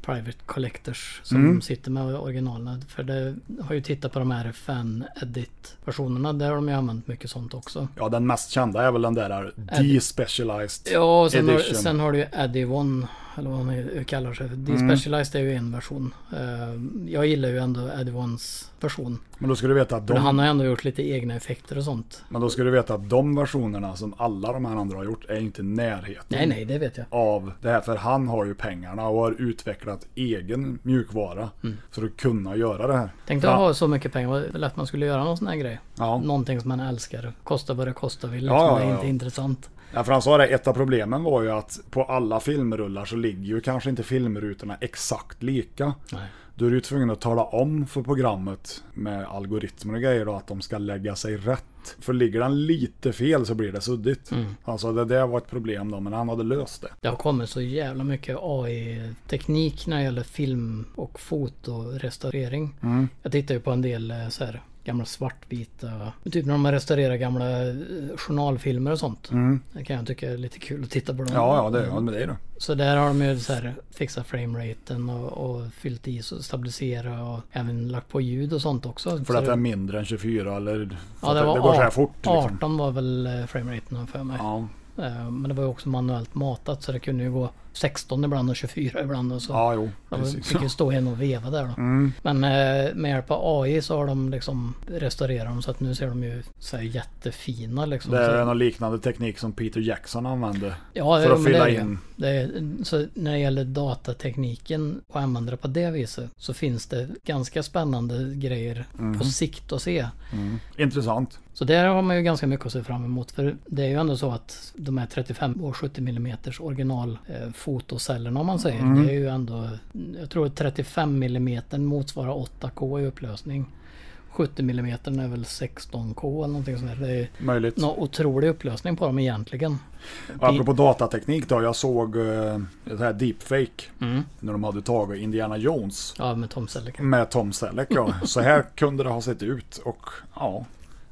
S3: private collectors som sitter med originalen. För det har ju tittat på de här fan edit versionerna. Där har de ju använt mycket sånt också.
S2: Ja, den mest kända är väl den där här Despecialized
S3: Ja, och sen har,
S2: Edition.
S3: sen har du ju Eddie One. Eller vad man kallar sig. Despecialized är ju en version. Eh, Jag gillar ju ändå Eddie Ones version.
S2: Men då ska du veta att
S3: Men
S2: de,
S3: han har ju ändå gjort lite egna effekter och sånt.
S2: men då ska du veta att de versionerna som alla de här andra har gjort är inte i närheten.
S3: Nej, nej, det vet jag.
S2: av det här för han har ju pengarna och har utvecklat egen mjukvara
S3: Mm.
S2: för att kunna göra det här.
S3: Tänk dig att ha så mycket pengar. Vad lätt man skulle göra någon sån här grej.
S2: Ja.
S3: Någonting som man älskar. Kosta vad det kostar vill. liksom,
S2: Ja,
S3: Det
S2: ja,
S3: är
S2: ja.
S3: inte intressant.
S2: Ja, för han sa det, ett av problemen var ju att på alla filmrullar så ligger ju kanske inte filmrutorna exakt lika.
S3: Nej.
S2: Då är du ju tvungen att tala om för programmet med algoritmer och grejer då att de ska lägga sig rätt. För ligger den lite fel så blir det suddigt.
S3: Mm.
S2: Han sa det där var ett problem då, men han hade löst det.
S3: Det har kommit så jävla mycket AI-teknik när det gäller film och fotorestaurering.
S2: Mm.
S3: Jag tittar ju på en del eh, så här gamla svartvita, typ när de restaurerar gamla eh, journalfilmer och sånt. Det kan jag tycka är lite kul att titta på dem.
S2: Mm. Ja, ja, det är med dig då.
S3: Så där har de ju så här fixat frameraten och, och fyllt i så stabilisera och även lagt på ljud och sånt också.
S2: För att det är mindre än 24 eller... för att det, det
S3: var
S2: går så här
S3: art-
S2: fort liksom.
S3: 18 var väl eh, frameraten har jag för mig.
S2: Ja.
S3: Eh, Men det var ju också manuellt matat så det kunde ju gå 16 ibland och 24 ibland och så.
S2: ja, jo.
S3: de
S2: Precis. Mm.
S3: fick ju stå en och veva där då. Men eh, med hjälp av AI så har de liksom restaurerat dem så att nu ser de ju så här jättefina liksom.
S2: Det är
S3: Så-
S2: någon liknande teknik som Peter Jackson använde.
S3: Ja,
S2: för
S3: jo,
S2: att
S3: men
S2: fylla
S3: det är det.
S2: in.
S3: Det är, så när det gäller datatekniken och använda det på det viset så finns det ganska spännande grejer
S2: Mm.
S3: på sikt att se.
S2: Intressant.
S3: Så där har man ju ganska mycket att se fram emot. För det är ju ändå så att de här 35 och 70 mm original eh, fotocellerna om man säger. Det är ju ändå, jag tror att 35 mm motsvarar 8K i upplösning. 70 mm är väl 16K eller någonting sånt där. Det är
S2: Möjligt.
S3: någon otrolig upplösning på dem egentligen.
S2: Och apropå datateknik då, jag såg eh, det här deepfake
S3: Mm.
S2: när de hade tagit Indiana Jones
S3: Ja, med Tom Selleck.
S2: med Tom Selleck. Ja. Så här kunde det ha sett ut och ja,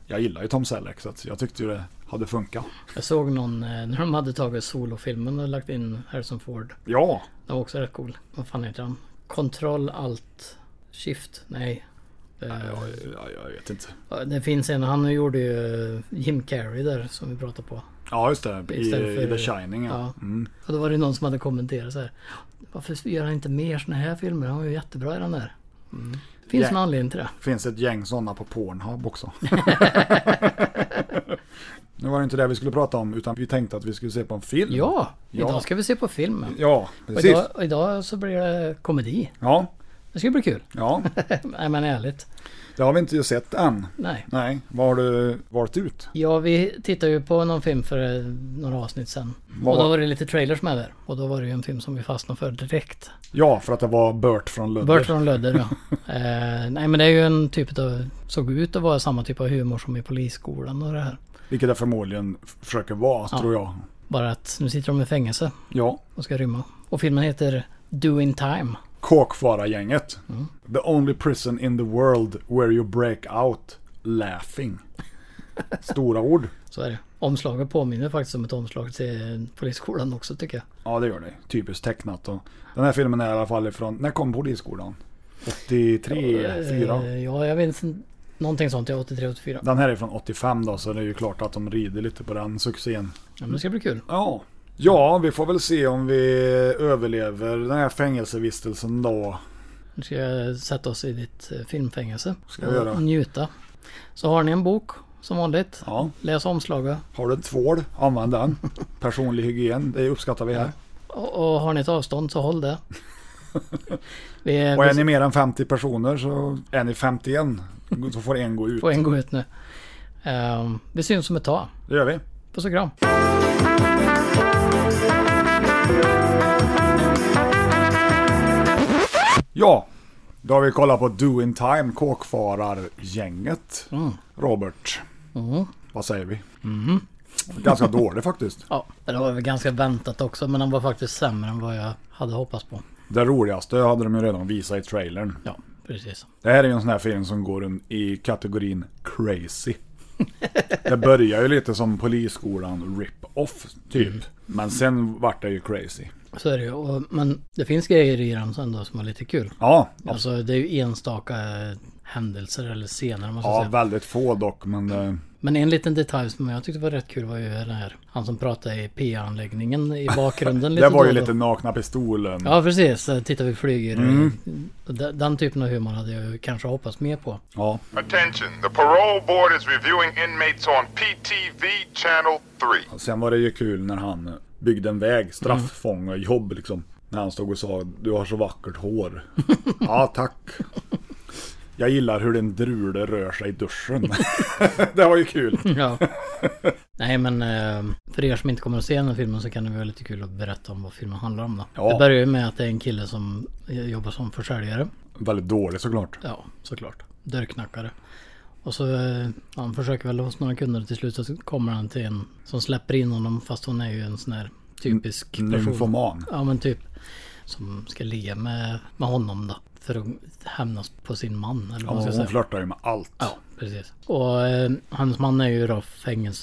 S2: jag gillar ju Tom Selleck så att jag tyckte ju det hade funkat.
S3: Jag såg någon eh, när de hade tagit solofilmen och lagt in Harrison Ford.
S2: Ja,
S3: Det var också rätt cool. Vad fan heter han? Control Alt Shift? Nej. Eh,
S2: jag, jag vet inte.
S3: Ja, Det finns en, han gjorde ju eh, Jim Carrey där som vi pratade på.
S2: Ja, Mm. just det. I,
S3: Istället
S2: i The
S3: för-
S2: Shining ja.
S3: Ja. Och då var det någon som hade kommenterat så här. Varför gör han inte mer såna här filmer? Han var ju jättebra i den där. Mm. Det finns
S2: Ja.
S3: en anledning till det.
S2: finns ett gäng sådana på Pornhub också. nu var det inte det vi skulle prata om utan vi tänkte att vi skulle se på en film.
S3: Ja,
S2: Ja.
S3: idag ska vi se på filmen.
S2: Ja,
S3: Och
S2: precis.
S3: idag, och idag så blir det komedi.
S2: Ja,
S3: Det ska bli kul.
S2: ja.
S3: Nej men ärligt.
S2: Det har vi inte sett än.
S3: Nej.
S2: Nej, vad har du valt ut?
S3: Ja, vi tittade ju på någon film för eh, några avsnitt sedan.
S2: Vad
S3: Och då
S2: var-
S3: var det lite trailers med där. Och då var det ju en film som vi fastnade för direkt.
S2: Ja, för att det var Bert från Ludde.
S3: Bert från Lödder ja. eh, nej men det är ju en typ av, såg ut att vara samma typ av humor som i Polisskolan och det här.
S2: Vilket det förmodligen f- försöker vara, tror jag.
S3: Bara att nu sitter de i fängelse
S2: Ja.
S3: och ska rymma. Och filmen heter Doing Time.
S2: Kåkfara-gänget.
S3: Mm.
S2: The only prison in the world where you break out laughing. Stora ord.
S3: Så är det. Omslaget påminner faktiskt om ett omslag till Polisskolan också tycker jag.
S2: Ja, det gör det. Typiskt tecknat. Och den här filmen är i alla fall ifrån... När kom Polisskolan? 83, 4?
S3: Eh, ja, jag minns en- någonting sånt. Ja, 83-84.
S2: Den här är från 85 då, så det är ju klart att de rider lite på den succén.
S3: Ja, men det ska bli kul.
S2: Ja. Ja, vi får väl se om vi överlever den här fängelsevistelsen då.
S3: Nu ska jag sätta oss i ditt eh, filmfängelse.
S2: Ska vi göra.
S3: Och njuta. Så har ni en bok som vanligt.
S2: Ja.
S3: Läs omslaget.
S2: Har du en tvål, använd den. Personlig hygien, det uppskattar vi här.
S3: Och, och har ni ett avstånd så håll det. Vi är,
S2: Och är ni mer än 50 personer så är ni 51. Så får en gå ut.
S3: får en gå ut nu. Ehm, vi syns om ett tag.
S2: Det gör vi.
S3: Puss och kram.
S2: Ja, då har vi kollat på Do In Time, kåkfarargänget. Robert,
S3: Mm.
S2: vad säger vi? Ganska dålig faktiskt.
S3: Ja, det var väl ganska väntat också, men den var faktiskt sämre än vad jag hade hoppats på.
S2: Det roligaste hade de ju redan visat i trailern.
S3: Ja, precis.
S2: Det här är ju en sån här film som går in i kategorin crazy. Det börjar ju lite som Polisskolan rip-off typ. Men sen vart det ju crazy.
S3: Så är det ju. Och, men det finns grejer i den sen då som är lite kul.
S2: Ja,
S3: Alltså det är ju enstaka eh, händelser eller scener om man ska
S2: ja
S3: säga.
S2: väldigt få dock men eh,
S3: Men en liten detalj som jag tyckte var rätt kul var ju den här, han som pratade i PA-anläggningen i bakgrunden.
S2: det var ju
S3: då och
S2: lite
S3: då.
S2: nakna pistolen.
S3: Ja precis, Eh, titta vi flyger. Den, den typen av humor hade jag ju kanske hoppats mer på.
S2: Ja.
S8: Attention, the parole board is reviewing inmates on PTV Channel 3.
S2: Sen var det ju kul när han byggde en väg, straffångarjobb liksom. När han stod och sa du har så vackert hår. ja, tack. Jag gillar hur din drule rör sig i duschen. det var ju kul.
S3: Ja. Nej men eh, för er som inte kommer att se den här filmen så kan det vara lite kul att berätta om vad filmen handlar om då.
S2: Ja.
S3: Det börjar ju med att det är en kille som eh, jobbar som försäljare.
S2: Väldigt dålig såklart.
S3: Ja, såklart. Dörrknackare. Och så eh, han försöker väl hos några kunder och till slut så kommer han till en som släpper in honom fast hon är ju en sån här typisk person.
S2: Nymfoman.
S3: Ja men typ. Som ska ligga med, med honom då. För att hämnas på sin man eller
S2: Ja,
S3: vad man ska
S2: hon
S3: säga.
S2: flörtar ju med allt.
S3: Ja, precis. Och eh, hans man är ju då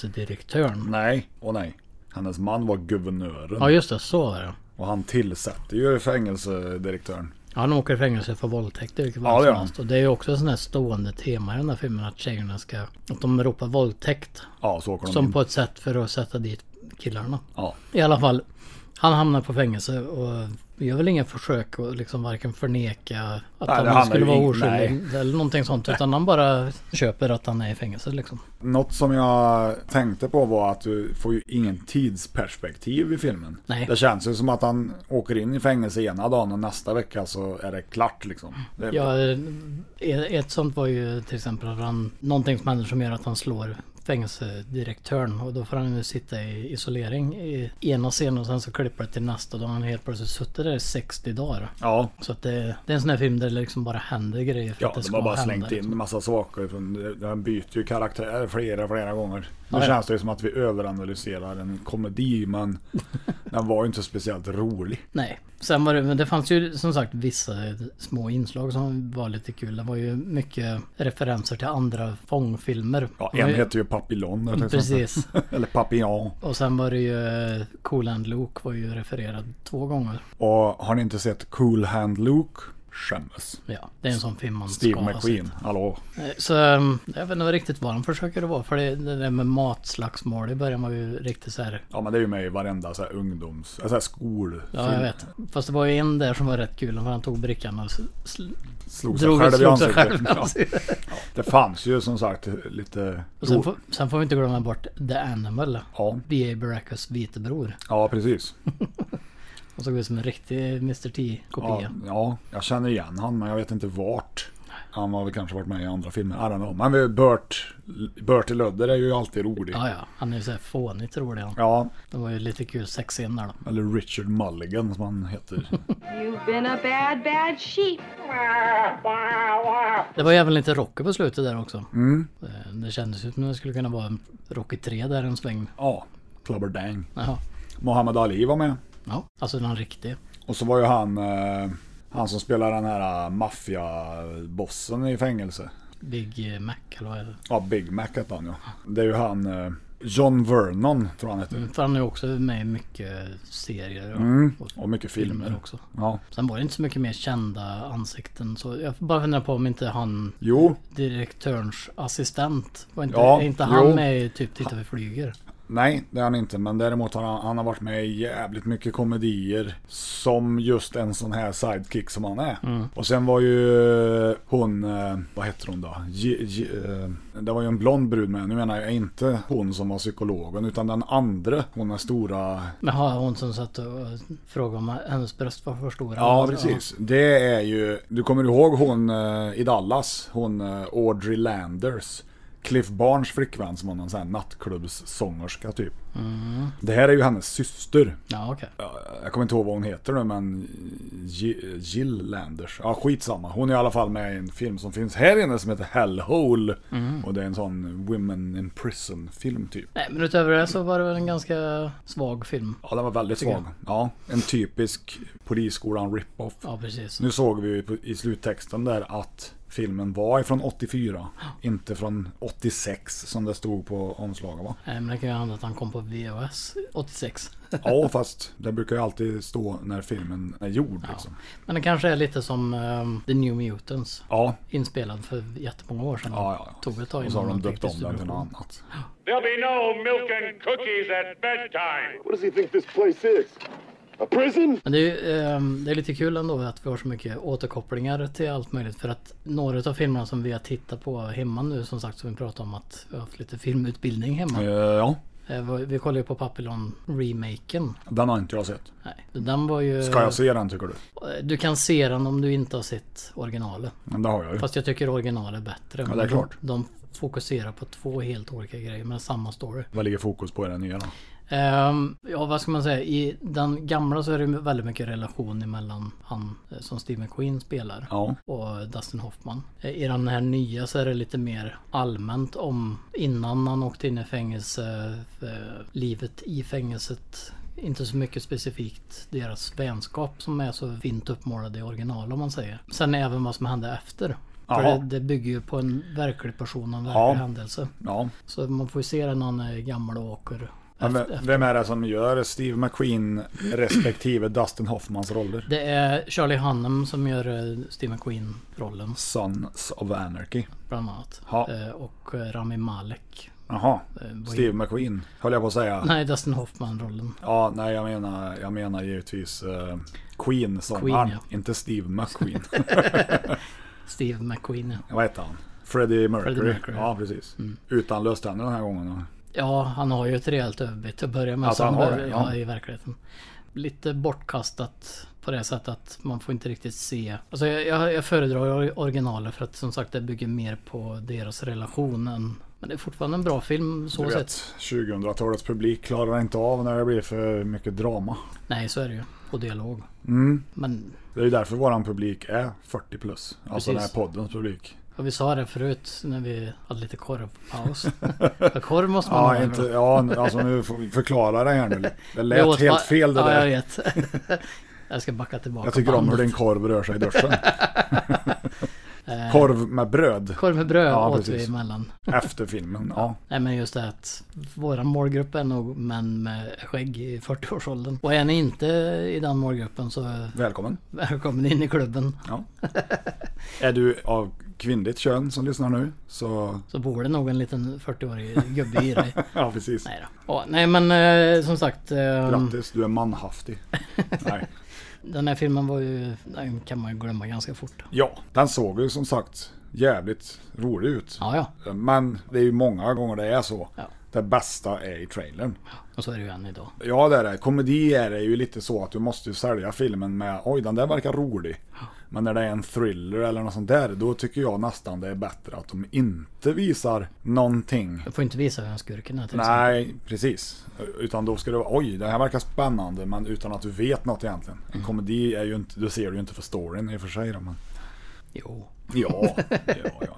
S3: fängelsedirektören.
S2: Nej, och nej. Hennes man var guvernören.
S3: Ja just det, så var det.
S2: Och han tillsätter ju fängelsedirektören.
S3: Han åker i fängelse för våldtäkt vilket
S2: Ja,
S3: var
S2: det gör
S3: det som
S2: han.
S3: helst. Och det är ju också ett sånt här stående tema i den här filmen att tjejerna ska... Att de ropar våldtäkt
S2: Ja, så åker de
S3: Som
S2: in.
S3: på ett sätt för att sätta dit killarna.
S2: Ja.
S3: I alla fall, han hamnar på fängelse och gör väl inga försök att liksom varken förneka att
S2: det handlar
S3: han skulle
S2: ju
S3: vara
S2: in-
S3: oskyldig eller någonting sånt. Utan han bara köper att han är i fängelse liksom.
S2: Något som jag tänkte på var att du får ju ingen tidsperspektiv i filmen.
S3: Nej.
S2: Det känns ju som att han åker in i fängelse ena dagen och nästa vecka så är det klart liksom. Det,
S3: Ja, eh, ett sånt var ju till exempel att han, någonting som händer som gör att han slår fängelsedirektören och då får han ju sitta i isolering i ena scenen och sen så klipper det till nästa. Då har han helt plötsligt suttit där i 60 dagar.
S2: ja,
S3: Så att det, det är en sån här film där det liksom bara händer grejer för
S2: ja
S3: att det
S2: de
S3: ska
S2: har bara
S3: hända.
S2: slängt in
S3: liksom.
S2: en massa saker. från- det- Han byter ju karaktär flera, flera gånger. Nu
S3: Ja, ja.
S2: känns det ju som att vi överanalyserar en komedi men den var ju inte speciellt rolig.
S3: Nej. Sen var det, men det fanns ju som sagt vissa små inslag som var lite kul. Det var ju mycket referenser till andra fångfilmer.
S2: Ja,
S3: Det var
S2: en
S3: ju-
S2: heter ju Papillon till exempel.
S3: Precis.
S2: Eller Papillon.
S3: Och sen var det ju eh, Cool and Luke var ju refererad två gånger.
S2: Och har ni inte sett Cool Hand Luke? Skämmes.
S3: Ja, det är en sån film man
S2: Steve
S3: ska ha
S2: McQueen, hallå.
S3: sett. Så ehm, jag vet inte riktigt vad de försöker det vara. För det, det där med matslagsmål i början var ju riktigt så här.
S2: Ja men det är ju med i varenda så här ungdoms... Alltså här skol...
S3: Ja, jag vet. Fast det var ju en där som var rätt kul. För han tog brickan och sl-
S2: Slog sig
S3: drog
S2: själv
S3: och
S2: i
S3: slog sig själv
S2: ansiktet.
S3: i
S2: Ja.
S3: ansiktet.
S2: Det fanns ju som sagt lite...
S3: Och sen, får, sen får vi inte glömma bort The Animal.
S2: Ja.
S3: B.A. Baracus vitebror.
S2: Ja precis.
S3: Han såg ut som en riktig Mr
S2: Ja,
S3: T-kopia.
S2: ja, jag känner igen han men jag vet inte vart. Han har väl kanske varit med i andra filmer, I don't know. Men vi- Bert, Bert i Lödder är ju alltid rolig.
S3: Ja, ja. Han är ju såhär fånigt rolig han.
S2: Ja,
S3: Det var ju lite kul sexscen där då.
S2: eller Richard Mulligan som han heter.
S9: You've been a bad, bad sheep.
S3: Det var ju även lite Rocky på slutet där också.
S2: Mm.
S3: Eh, Det kändes ju som det skulle kunna vara en Rocky 3 där en sväng.
S2: Ja, Clubberdang.
S3: Jaha.
S2: Muhammad Ali var med.
S3: Ja, alltså den riktig.
S2: Och så var ju han, eh, han som spelar den här eh, maffiabossen i fängelse.
S3: Big Mac eller vad är det?
S2: Ja, Big Mac hette han ja. Det är ju han eh, John Vernon tror han heter.
S3: För han är ju också med i mycket serier och,
S2: Mm. Och mycket filmer.
S3: också.
S2: Ja.
S3: Sen var det inte så mycket mer kända ansikten. Så jag bara funderar på om inte han
S2: Jo,
S3: direktörens assistent. Var inte,
S2: Ja,
S3: är inte han
S2: jo.
S3: med i typ Titta vi flyger?
S2: Nej, det är han inte. Men däremot har han, han har varit med i jävligt mycket komedier. Som just en sån här sidekick som han är. Och sen var ju hon, eh, vad heter hon då? J, J, eh, det var ju en blond brud med. Nu menar jag inte hon som var psykologen. Utan den andra. Hon är stora.
S3: Jaha, hon som satt och frågade om hennes bröst var för stora.
S2: Ja, precis. Det är ju, du kommer ihåg hon eh, i Dallas. Hon eh, Audrey Landers. Cliff Barnes flickvän som var någon sån här nattklubbssångerska typ. Det här är ju hennes syster.
S3: Ja, okej.
S2: jag kommer inte ihåg vad hon heter nu men Gi- Jill Landers. Ja skitsamma. Hon är i alla fall med i en film som finns här inne som heter Hellhole. Och det är en sån Women in Prison film typ.
S3: Nej, men utöver det så var det väl en ganska svag film.
S2: Ja den var väldigt svag. Ja, en typisk polisskolan rip-off.
S3: Ja, precis.
S2: Nu såg vi ju på- i sluttexten där att filmen var ifrån 84. Inte från 86 som det stod på omslaget va?
S3: Nej, men det kan ju hända att han kom på VHS 86.
S2: Ja fast det brukar ju alltid stå när filmen är gjord liksom.
S3: Men det kanske är lite som ehm, The New Mutants.
S2: Ja,
S3: Inspelad för jättemånga år sedan.
S2: Ja, ja, ja.
S3: Tog ett tag
S2: och så har
S3: innan
S2: de
S3: fick
S2: döpt om den till
S3: distribution.
S2: något annat.
S10: There'll be no milk and cookies at bedtime.
S11: What does he think this place is? A prison?
S3: Men det är, ju, ehm, det är lite kul ändå att vi har så mycket återkopplingar till allt möjligt. För att några av filmerna som vi har tittat på hemma nu som sagt som vi pratade om att vi har haft lite filmutbildning hemma.
S2: Eh, Ja,
S3: Eh, vad- Vi kollar ju på Papillon remaken.
S2: den har inte jag sett.
S3: Nej, den var ju...
S2: Ska jag se den tycker du?
S3: Du kan se den om du inte har sett originalet.
S2: Men det har jag ju.
S3: Fast jag tycker originalet är bättre.
S2: Mm. Ja, det är klart.
S3: De, de fokuserar på två helt olika grejer men samma story.
S2: Vad ligger fokus på i den nya då?
S3: Ehm, ja, vad ska man säga? I den gamla så är det ju väldigt mycket relation mellan han eh, som Steve McQueen spelar
S2: Ja.
S3: och Dustin Hoffman. Eh, I den här nya så är det lite mer allmänt om innan han åkte in i fängelse, eh, livet i fängelset. Inte så mycket specifikt deras vänskap som är så fint uppmålad i original om man säger. Sen även vad som hände efter. För
S2: Jaha.
S3: det, det bygger ju på en verklig person och en verklig
S2: Ja.
S3: händelse.
S2: Ja.
S3: Så man får ju se den när han är gammal och åker.
S2: Men
S3: efter-
S2: vem- vem är det som gör Steve McQueen respektive Dustin Hoffmans roller?
S3: Det är Charlie Hunnam som gör eh, Steve McQueen-rollen
S2: Sons of Anarchy.
S3: bland annat.
S2: Ja.
S3: Eh, Och eh, Rami Malek.
S2: Jaha,
S3: Eh, vad
S2: Steve McQueen höll jag på att säga.
S3: Nej, Dustin Hoffman-rollen.
S2: Ja, nej jag menar, jag menar givetvis eh, Queen som
S3: Queen,
S2: han,
S3: ja.
S2: inte Steve McQueen.
S3: Steve McQueen ja.
S2: Vad heter han? Freddie Mercury.
S3: Freddie Mercury, Mm.
S2: Ja, precis. Utan löständer den här gången.
S3: Ja, han har ju ett rejält överbitt att börja med.
S2: Alltså,
S3: så
S2: han har
S3: behöver-
S2: det, ja.
S3: ja. i verkligheten. Lite bortkastat på det sättet att man får inte riktigt se. Alltså jag, jag, jag föredrar ju originalet för att som sagt det bygger mer på deras relation än... Men det är fortfarande en bra film så
S2: Du vet,
S3: sett.
S2: 2000-talets publik klarar inte av när det blir för mycket drama.
S3: Nej, så är det ju. Och dialog.
S2: Mm.
S3: Men
S2: Det är ju därför våran publik är 40 plus. Alltså den här
S3: Precis.
S2: poddens publik.
S3: Och vi sa det förut när vi hade lite korvpaus. För korv måste man
S2: Ja,
S3: ha.
S2: inte,
S3: ibland.
S2: ja n- alltså nu får vi förklara det här nu. Det
S3: Vi
S2: lät
S3: åt
S2: helt
S3: bara-
S2: fel det
S3: ja,
S2: där.
S3: jag vet. jag ska backa tillbaka.
S2: Jag tycker om hur
S3: bandet.
S2: din korv rör sig i duschen. korv med bröd
S3: Eh. Korv med bröd
S2: Ja,
S3: åt
S2: precis.
S3: vi emellan.
S2: efter filmen. Ja.
S3: Nej men just det att våran målgrupp är nog män med skägg i 40-årsåldern. Och är ni inte i den målgruppen så
S2: Välkommen.
S3: välkommen in i klubben.
S2: Ja. Är du av kvinnligt kön som lyssnar nu så...
S3: Så bor det nog en liten 40-årig gubbe i dig.
S2: Ja, precis.
S3: Nej då. Ja, nej men eh, som sagt. ehm,
S2: Grattis, du är manhaftig. Nej.
S3: den här filmen var ju, den kan man ju glömma ganska fort.
S2: Ja, den såg ju som sagt jävligt rolig ut.
S3: Ja ja,
S2: Men det är ju många gånger det är så.
S3: Ja.
S2: Det bästa är i trailern.
S3: och så är det ju än idag.
S2: Ja, det är det. Komedi är det ju lite så att du måste ju sälja filmen med oj, den där verkar rolig. Men när det är en thriller eller något sånt där, då tycker jag nästan det är bättre att de inte visar någonting.
S3: Du får inte visa vem skurken är till exempel.
S2: Nej, precis. Utan då ska det vara, oj, det här verkar spännande, men utan att du vet något egentligen. En
S3: Mm.
S2: komedi är ju inte, du ser du ju inte för storyn i och för sig då, men...
S3: Jo.
S2: Ja, ja, ja.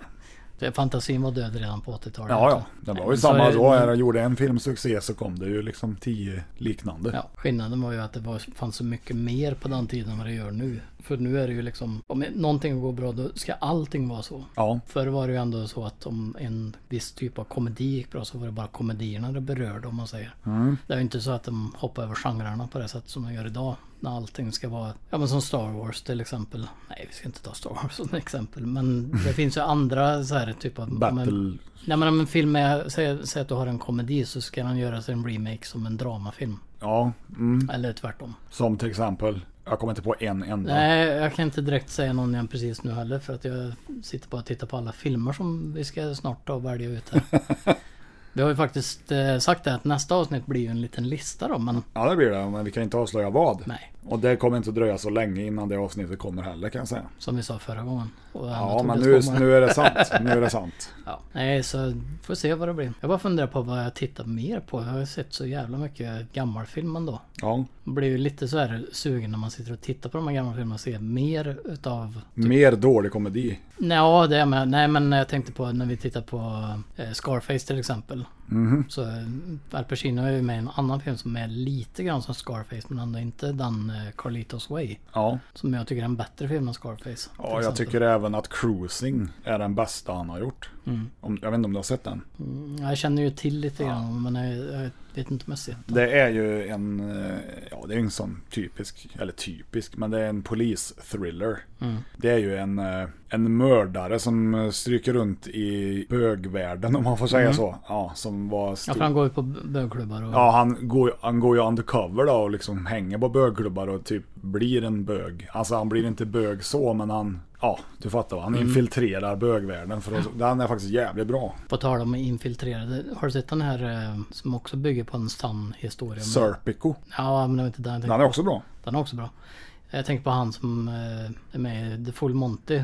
S3: Det- Fantasin var död redan på 80-talet.
S2: Ja, ja. Det var ju
S3: Så är
S2: samma
S3: det-
S2: då. När de gjorde en filmsuccé så kom det ju liksom tio liknande.
S3: Ja, skillnaden var ju att det var, fanns så mycket mer på den tiden än vad det gör nu. För nu är det ju liksom, om någonting går bra då ska allting vara så.
S2: Ja.
S3: Förr var det ju ändå så att om en viss typ av komedi gick bra så var det bara komedierna det berörde om man säger.
S2: Mm.
S3: Det är ju inte så att de hoppar över genrerna på det sätt som de gör idag. När allting ska vara, ja men som Star Wars till exempel. Nej vi ska inte ta Star Wars som exempel. Men det finns ju andra så här typ av...
S2: Battle...
S3: Nej men om en film är, säg, säg att du har en komedi så ska den göras en remake som en dramafilm.
S2: Ja. Mm.
S3: Eller tvärtom.
S2: Som till exempel, jag kommer inte på en enda.
S3: Nej, jag kan inte direkt säga någon jag precis nu heller för att jag sitter bara och tittar på alla filmer som vi ska snart ta och välja ut här. Vi har ju faktiskt eh, sagt det att nästa avsnitt blir ju en liten lista då men
S2: Ja det blir det, men vi kan inte avslöja vad.
S3: Nej.
S2: Och det kommer inte dröja så länge innan det avsnittet kommer heller kan jag säga.
S3: som vi sa förra gången. Och ändå
S2: Ja
S3: tog
S2: men
S3: det
S2: nu,
S3: två månader.
S2: nu är det sant, nu är det sant.
S3: Ja. Nej så får se vad det blir. Jag bara funderar på vad jag tittar mer på. Jag har ju sett så jävla mycket gammalfilm ändå.
S2: Ja.
S3: Man blir ju lite så här sugen när man sitter och tittar på de här gamla filmerna och ser mer utav
S2: Mer dålig komedi.
S3: Nej, Ja, det är med. Nej, men jag tänkte på när vi tittar på eh, Scarface till exempel.
S2: Mhm.
S3: Så eh, Al Pacino är ju med i en annan film som är lite grann som Scarface men ändå inte den eh, Carlitos Way.
S2: Ja.
S3: Som jag tycker är en bättre film än Scarface. till
S2: Ja, jag
S3: exempel.
S2: tycker även att Cruising är den bästa han har gjort.
S3: Mm.
S2: Om, jag vet inte om du har sett den?
S3: Jag känner ju till lite grann men jag, jag vet inte om jag sett den.
S2: Det är ju en, eh, ja det är ju en sån typisk, eller typisk, men det är en polisthriller.
S3: Mm.
S2: Det är ju en, eh, en mördare som eh, stryker runt i bögvärlden om man får säga så. Ja, som var
S3: Mm. Ja,
S2: stor.
S3: för han går ju på bögklubbar och...
S2: Typ. Ja, han går, ju- han går ju undercover då och liksom hänger på bögklubbar och typ blir en bög. Alltså han blir inte bög så, men han, ja du fattar va. Han
S3: Mm.
S2: infiltrerar bögvärlden. För att, Den är faktiskt jävligt bra.
S3: På tal om infiltrerade. Har du sett den här eh, som också bygger på en sann historia? med-
S2: Serpico.
S3: Ja, men det var inte den jag tänkte
S2: Den är också bra.
S3: Den är också bra. Jag tänker på han som eh, är med i The Full Monty. Eh,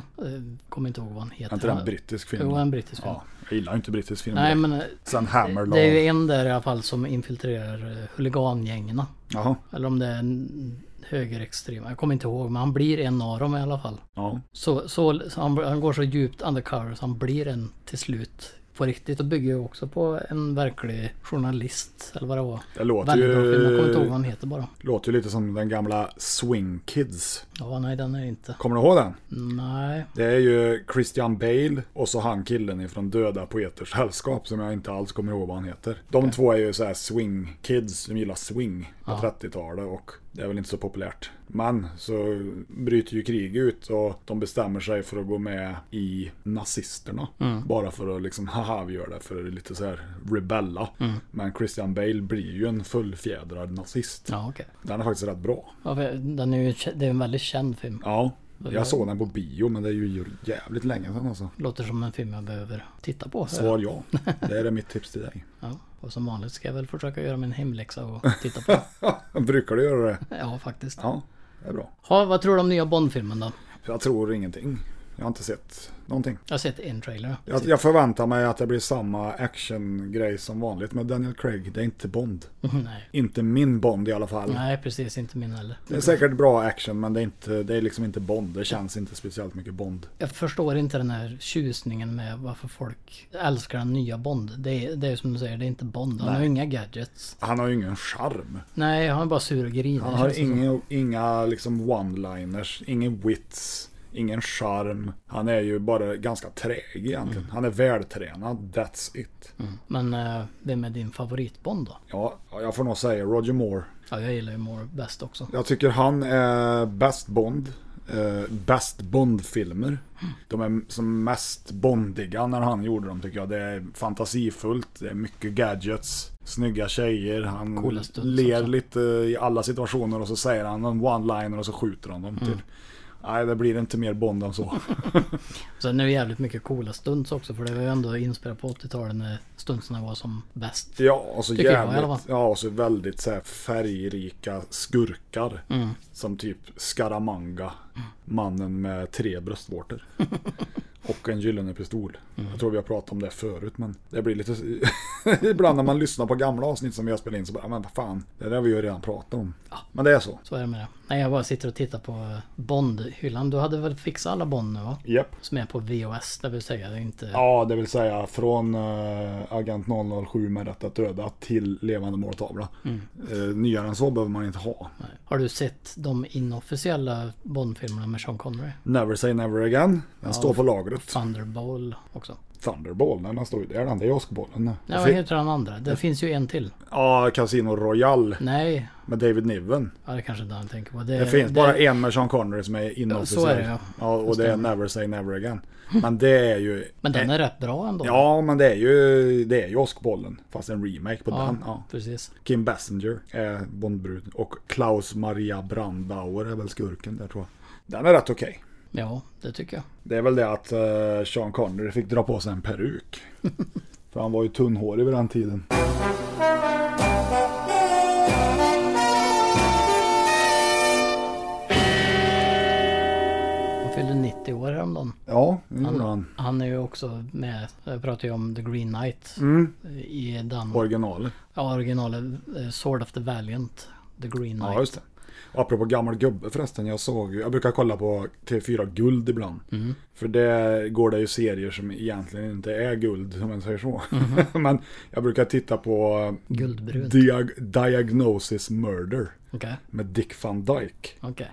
S3: Kommer inte ihåg vad han
S2: Är
S3: heter.
S2: inte den en brittisk film?
S3: Jo, en brittisk film.
S2: Ja, jag gillar ju inte brittisk film.
S3: Nej
S2: direkt.
S3: men eh,
S2: Sen Hammer
S3: det
S2: Law.
S3: är ju en där i alla fall som infiltrerar eh, huligangängerna.
S2: Jaha.
S3: Eller om det är en högerextrema. Jag kommer inte ihåg men han blir en av dem i alla fall.
S2: Ja.
S3: Så, så, så han, han går så djupt undercover så han blir en till slut. På riktigt och bygger ju också på en verklig journalist eller vad det var.
S2: Det låter
S3: Väldigt bra film. Jag kommer inte ihåg
S2: ju,
S3: vad han heter bara.
S2: låter ju lite som den gamla Swing Kids.
S3: Ja nej den är inte.
S2: Kommer du ihåg den?
S3: Mm. Nej.
S2: Det är ju Christian Bale och så han killen ifrån Döda Poeters Sällskap som jag inte alls kommer ihåg vad han heter. De två är ju så här swing kids som gillar swing på 30-talet och det är väl inte så populärt. Men så bryter ju krig ut och de bestämmer sig för att gå med i nazisterna. Bara för att liksom, haha vi gör det för lite så här rebella. Men Christian Bale blir ju en fullfjädrad nazist.
S3: Ja okej.
S2: Den är faktiskt rätt bra.
S3: Ja, för den är ju, kä- det är en väldigt känd film.
S2: Ja, jag såg den på bio men det är ju jävligt länge sedan alltså.
S3: Låter som en film jag behöver titta på.
S2: Svar ja. Det är mitt tips till dig.
S3: Ja, och som vanligt ska jag väl försöka göra min hemläxa och titta på.
S2: Brukar du göra det?
S3: ja, faktiskt.
S2: Ja, det är bra.
S3: Ha, vad tror du om nya Bond-filmen då?
S2: Jag tror ingenting. Jag har inte sett någonting.
S3: Jag har sett en trailer.
S2: Jag, jag förväntar mig att det blir samma actiongrej som vanligt med Daniel Craig. Det är inte Bond.
S3: Nej.
S2: Inte min Bond i alla fall.
S3: Nej, precis. Inte min heller.
S2: Det är säkert bra action men det är, inte, det är liksom inte Bond. Det känns inte speciellt mycket Bond.
S3: Jag förstår inte den här tjusningen med varför folk älskar den nya Bond. Det är, det är som du säger, det är inte Bond. Han har ju inga gadgets.
S2: Han har ju ingen charm.
S3: Nej, han är bara sur och grinig.
S2: Han
S3: känns
S2: har
S3: det som.
S2: inga, inga liksom one-liners, ingen wits, ingen charm. Han är ju bara ganska träg
S3: Mm.
S2: egentligen. Han är vältränad, that's it.
S3: Men eh, vem är din favorit-Bond då?
S2: Ja, jag får nog säga Roger Moore.
S3: Ja, jag gillar ju Moore bäst också.
S2: Jag tycker han är bäst Bond. Eh, bäst Bond-filmer. De är som mest Bondiga när han gjorde dem tycker jag. Det är fantasifullt, det är mycket gadgets, snygga tjejer. Han
S3: Coola stunts
S2: ler
S3: också.
S2: lite i alla situationer och så säger han en one-liner och så skjuter han dem.
S3: Mm.
S2: Typ. Nej, det blir inte mer Bond än så.
S3: Sen är det jävligt mycket coola stunts också för det var ju ändå inspelat på 80-talet när stuntsarna var som bäst.
S2: Ja, och så
S3: Tycker jag i alla
S2: jävligt,
S3: fall.
S2: ja, och så väldigt så här färgrika skurkar.
S3: Mm.
S2: Som typ Scaramanga, mannen med tre bröstvårtor. Och en gyllene pistol.
S3: Mm.
S2: Jag tror vi har pratat om det förut men det blir lite... Ibland när man lyssnar på gamla avsnitt som vi har spelat in så bara, men vad fan, det där har vi ju redan pratat om. Men det är så.
S3: Så är det med det. Nej, jag bara sitter och tittar på eh, Bond-hyllan. Du hade väl fixat alla Bond nu va?
S2: Japp.
S3: Som är på VOS, det vill säga. Det är inte...
S2: Ja, det vill säga från eh, Agent 007 med rätt att döda till Levande måltavla.
S3: Mm.
S2: Eh, nyare än så behöver man inte ha.
S3: Har du sett de inofficiella Bond-filmerna med Sean Connery?
S2: Never say never again. Den står på lagret.
S3: Thunderball också.
S2: Thunderball, den står ju där den. Det är åskbollen.
S3: Nej, vad heter den andra? Det finns ju en till.
S2: Ja, Casino Royale
S3: Nej,
S2: med David Niven.
S3: ja, det kanske inte han tänker på. Det,
S2: Det finns bara en med Sean Connery som är inofficiell.
S3: så är det, Eh, ja.
S2: ja, och det är Never say never again. Men det är ju...
S3: Men den är rätt bra ändå.
S2: Ja, men det är ju, det är ju åskbollen. Fast en remake på den. Ja.
S3: precis.
S2: Kim Basinger är Bondbrud och Klaus Maria Brandauer är väl skurken där tror jag. Den är rätt okej.
S3: Ja, det tycker jag.
S2: Det är väl det att eh, Sean Connery fick dra på sig en peruk. För han var ju tunnhårig vid den tiden.
S3: Han fyllde 90 år häromdagen.
S2: Ja, det gjorde han.
S3: Han är ju också med, jag pratar ju om The Green Knight.
S2: Mm.
S3: I den,
S2: Originalet.
S3: ja, originalet eh, Sword of the Valiant. The Green Knight.
S2: Ja, just det. Och apropå gammal gubbe förresten, jag såg jag brukar kolla på TV4 Guld ibland. För där går det ju serier som egentligen inte är guld, om man säger så. Men jag brukar titta på
S3: Guldbrunt.
S2: Diag- Diagnosis Murder
S3: Okej,
S2: med Dick Van Dyke.
S3: okej.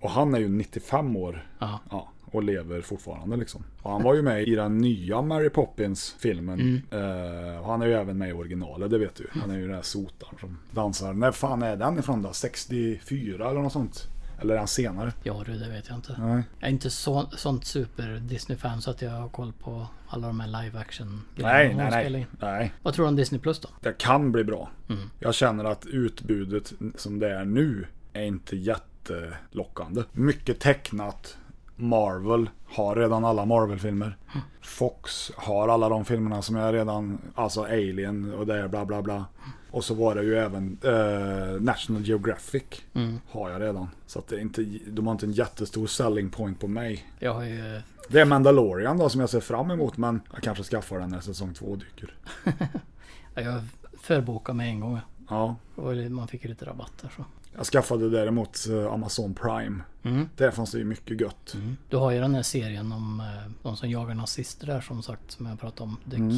S2: Och han är ju 95 år.
S3: Ja.
S2: och lever fortfarande liksom. Och han var ju med i den nya Mary Poppins-filmen. Eh, och han är ju även med i originalet, det vet du. Han är ju den här sotaren som dansar. När fan är den ifrån då? 64 eller något sånt? Eller är han senare?
S3: Ja du, det vet jag inte.
S2: Nej.
S3: Jag är inte så, sånt super Disney-fan så att jag har koll på alla de här live action
S2: Nej, nej, nej. nej.
S3: Vad tror du om Disney Plus då?
S2: Det kan bli bra. Jag känner att utbudet som det är nu är inte jättelockande. Mycket tecknat. Marvel har redan alla Marvel-filmer. Fox har alla de filmerna som jag redan, alltså Alien och det är bla bla bla. Och så var det ju även eh, National Geographic har jag redan. Så att det är inte, de har inte en jättestor selling point på mig.
S3: Jag har ju...
S2: Det är Mandalorian då som jag ser fram emot men jag kanske skaffar den när säsong två dyker.
S3: Jag förbokade mig en gång.
S2: Ja,
S3: Och man fick ju lite rabatt där så.
S2: Jag skaffade däremot eh, Amazon Prime. Där fanns det ju mycket gött.
S3: Du har ju den här serien om eh, de som jagar nazister där som sagt som jag pratade om. The, mm.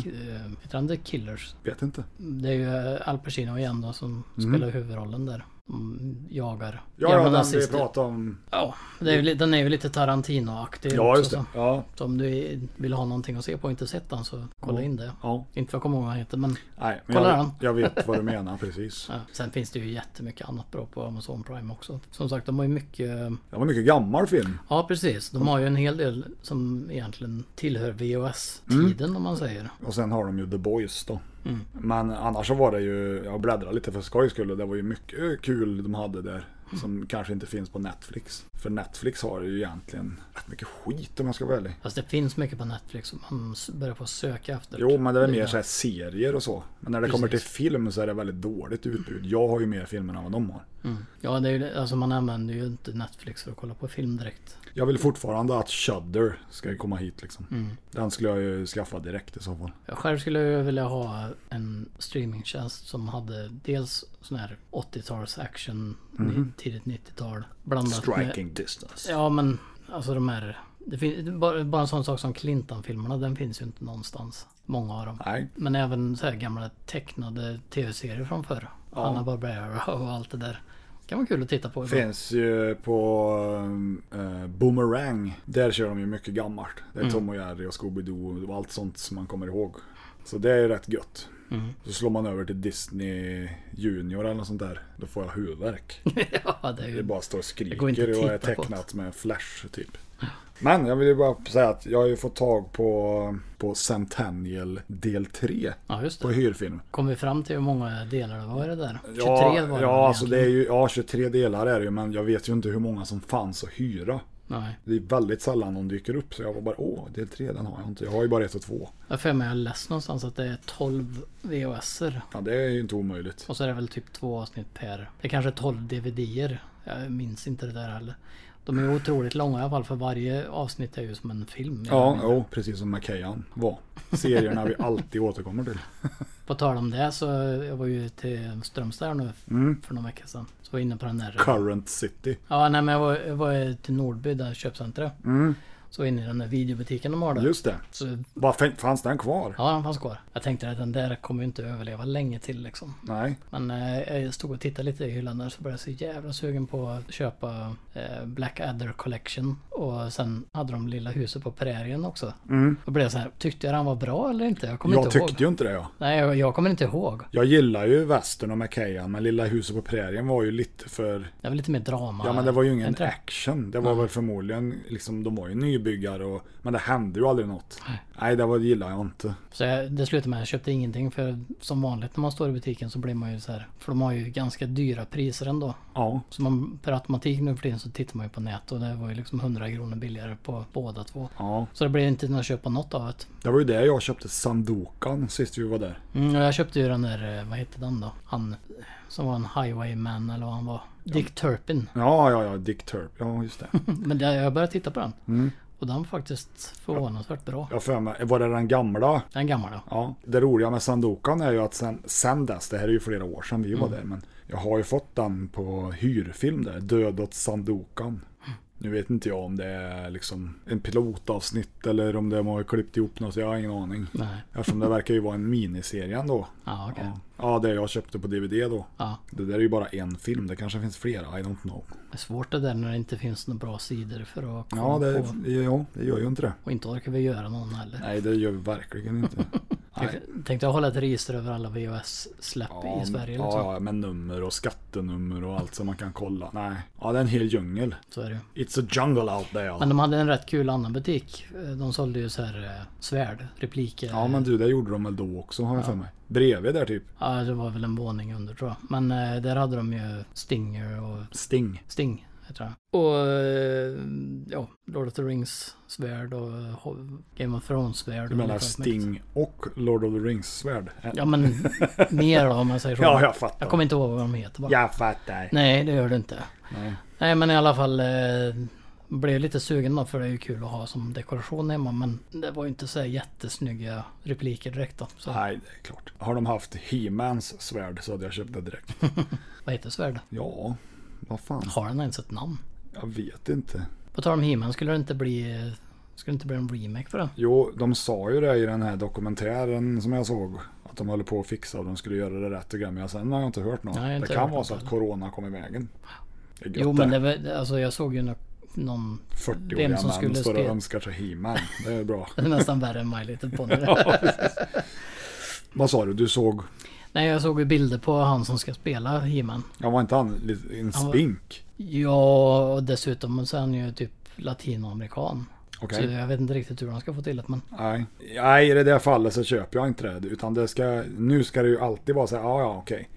S3: Heter den The Killers?
S2: Vet inte.
S3: Det är ju eh, Al Pacino igen då som spelar huvudrollen där. Mm, jagar
S2: Ja, ja den vi pratade om.
S3: Ja, det är, ju li- den är ju lite Tarantino-aktig
S2: Ja,
S3: också,
S2: just det.
S3: så.
S2: Ja,
S3: Så om du vill ha någonting att se på och inte sett den så kolla in det.
S2: ja.
S3: Inte för att komma ihåg vad han heter men
S2: Nej, men
S3: Kolla
S2: jag,
S3: den.
S2: jag vet vad du menar precis.
S3: ja. sen finns det ju jättemycket annat bra på Amazon Prime också. Som sagt de har ju mycket eh,
S2: Det var en mycket gammal film.
S3: Ja precis, de har ju en hel del som egentligen tillhör VHS-tiden
S2: Mm.
S3: om man säger.
S2: Och sen har de ju The Boys då. Men annars så var det ju, jag bläddrade lite för skojs skull och det var ju mycket kul de hade där. Som kanske inte finns på Netflix. För Netflix har ju egentligen rätt mycket skit om jag ska vara ärlig.
S3: Fast det finns mycket på Netflix som man s- börjar på att söka efter.
S2: Jo, men det är mer
S3: Ja.
S2: så här serier och så. Men när det kommer till
S3: Precis.
S2: film så är det väldigt dåligt utbud. Jag har ju mer filmer än vad de har.
S3: Ja, det är ju, det- alltså man använder ju inte Netflix för att kolla på film direkt.
S2: Jag vill fortfarande att Shudder ska komma hit liksom. Den skulle jag ju skaffa direkt i så fall.
S3: Jag själv skulle ju vilja ha en streamingtjänst som hade dels sån här 80-tals action, ni- tidigt 90-tal. Blandat med...
S2: Mhm. Striking distance.
S3: Ja, men alltså de här... Det fin- bara, bara en sån sak som Clintan-filmerna, den finns ju inte någonstans. Många av dem.
S2: Nej.
S3: Men även så här gamla tecknade tv-serier från förr. Hanna Barbera och allt det där. kan vara kul att titta på. ibland.
S2: Finns ju på eh, Boomerang. Där kör de ju mycket gammalt. Det är Tom och Jerry och Scooby-Doo och allt sånt som man kommer ihåg. Så det är ju rätt gött. Så slår man över till Disney Junior eller något sånt där. Då får jag huvudvärk.
S3: ja, det är
S2: Det
S3: ju...
S2: bara står och skriker
S3: går inte att
S2: och är
S3: titta på
S2: tecknat med flash typ. Men jag vill ju bara säga att jag har ju fått tag på, på Centennial del 3
S3: Ja, just det.
S2: på hyrfilm.
S3: Kom vi fram till hur många delar det var i det där? 23
S2: Ja,
S3: var det
S2: ja, alltså det
S3: egentligen.
S2: är ju, ja, 23 delar är det ju, men jag vet ju inte hur många som fanns att hyra.
S3: Nej.
S2: Det är väldigt sällan de dyker upp, så jag var bara åh, del 3 den har jag inte. Jag har ju bara ett och två.
S3: Jag har för mig jag läst någonstans att det är 12 VHSer.
S2: Ja, det är ju inte omöjligt.
S3: Och så är det väl typ två avsnitt per. Det är kanske 12 DVDer. Jag minns inte det där heller. De är ju otroligt långa i alla fall för varje avsnitt är ju som en film.
S2: Ja, jo, precis som McKayan var. Serierna vi alltid återkommer till.
S3: På tal om det så jag var ju till Strömstad här nu
S2: Mm.
S3: för några veckor sedan. Så var jag inne på den där.
S2: Current City.
S3: Ja, nej men jag var, jag var till Nordby, där köpcentret. Så var jag inne i den där videobutiken de har där.
S2: Mm. Just det.
S3: Så,
S2: Vad fin- fanns den kvar?
S3: ja, den fanns kvar. Jag tänkte att den där kommer ju inte överleva länge till liksom.
S2: Nej.
S3: Men eh, jag stod och tittade lite i hyllan där så blev jag så jävla sugen på att köpa eh, Blackadder Collection. Och sen hade de Lilla huset på prärien också. Då blev jag så här, tyckte jag den var bra eller inte? Jag kommer
S2: Mm. Jag
S3: inte
S2: tyckte
S3: ihåg.
S2: ju inte det jag.
S3: Nej, jag, jag kommer inte ihåg.
S2: Jag gillar ju västern och McKayan, men Lilla huset på prärien var ju lite för...
S3: Det var lite mer drama.
S2: Ja, men det var ju
S3: Är
S2: ingen
S3: inte det?
S2: action. Det var väl förmodligen, liksom, de var ju nybyggare och... Men det hände ju aldrig något. Nej, det var, gillar jag inte.
S3: Så jag, det slutade med att jag köpte ingenting för som vanligt när man står i butiken så blir man ju så här. För de har ju ganska dyra priser ändå.
S2: Ja.
S3: Så man, per automatik nu för tiden så tittar man ju på nät och det var ju liksom 100 kronor billigare på båda två.
S2: Ja.
S3: Så det blev inte något köp på något av det.
S2: Det var ju det jag köpte Sandokan sist vi var där.
S3: Mm, och jag köpte ju den där, eh, vad hette den då? Han som var en highwayman eller vad han var. Dick Turpin.
S2: Ja, ja, ja. Dick Turp. Ja, just det.
S3: Men det, jag började titta på den.
S2: Mm.
S3: Och den var faktiskt förvånansvärt bra.
S2: Jag har för mig, var det den gamla?
S3: Den gamla då.
S2: Ja. Det roliga med Sandokan är ju att sen, sen dess, det här är ju flera år sedan vi var
S3: Mm.
S2: där, men jag har ju fått den på hyrfilm där, Död åt Sandokan. Nu vet inte jag om det är liksom en pilotavsnitt eller om de har klippt ihop något, jag har ingen aning.
S3: Nej.
S2: Eftersom det verkar ju vara en miniserie ändå.
S3: Ja, okej.
S2: Ja. ja, det jag köpte på DVD då.
S3: Ja.
S2: Det där är ju bara en film, det kanske finns flera, I don't know.
S3: Det är svårt det där när det inte finns några bra sidor för att komma
S2: Ja, det,
S3: på.
S2: ja, det gör ju inte det.
S3: Och inte orkar vi göra någon heller.
S2: Nej, det gör vi verkligen inte. Nej.
S3: Tänk- Tänkte jag hålla ett register över alla VHS-släpp i Sverige liksom.
S2: ja, ja, med nummer och skattenummer och allt som man kan kolla. Nej, ja, det är en hel djungel.
S3: Så är det ju.
S2: It's a jungle out there.
S3: Men de hade en rätt kul annan butik. Eh, De sålde ju så här eh, svärd, repliker.
S2: Ja, men du, det gjorde de väl då också har jag för mig. Bredvid där typ.
S3: Ja, det var väl en våning under tror jag. Men eh, där hade de ju Stinger och
S2: Sting.
S3: Sting. Heter det. Och eh, ja, Lord of the Rings svärd och eh, Ho- Game of Thrones svärd.
S2: Du
S3: och
S2: menar
S3: lite allt möjligt.
S2: Sting och Lord of the Rings svärd?
S3: liksom. Ja men mer då om man säger så.
S2: Ja, jag fattar.
S3: Jag kommer inte ihåg vad de heter bara.
S2: Jag fattar.
S3: Nej, det gör det inte.
S2: Nej.
S3: Nej, men i alla fall eh, blev lite sugen då för det är ju kul att ha som dekoration hemma. Men det var ju inte så här jättesnygga repliker direkt då. Så,
S2: Nej, det är klart. Har de haft He-Mans svärd så hade jag köpt det direkt.
S3: vad heter svärd?
S2: Ja, vad fan.
S3: Har den ens ett namn?
S2: Jag vet inte.
S3: På tal om He-Man, skulle det inte bli... eh, Skulle det inte bli en remake för den?
S2: Jo, de sa ju det i den här dokumentären som jag såg. Att de håller på att fixa och de skulle göra det rätt och grejer. Men sen har jag inte hört något.
S3: Nej, jag har inte
S2: det kan
S3: hört
S2: vara
S3: något
S2: så att
S3: heller.
S2: corona kom i vägen. Det är gött
S3: Jo men det var, alltså jag såg ju nå- någon...
S2: 40-åriga
S3: vem som
S2: män
S3: skulle
S2: står och
S3: spela-
S2: önskar sig He-Man. Det är bra.
S3: Det är nästan värre än My Little Pony.
S2: Vad sa du? Du såg...
S3: Nej jag såg ju bilder på han som ska spela He-Man.
S2: Jag var inte han lite- en
S3: var-
S2: spink?
S3: Ja och dessutom så är han ju typ latinoamerikan.
S2: Okej.
S3: Så jag vet inte riktigt hur de ska få till det men...
S2: Nej. Nej, i det där fallet så köper jag inte det. Utan det ska... Nu ska det ju alltid vara så här, ja, ja, okej.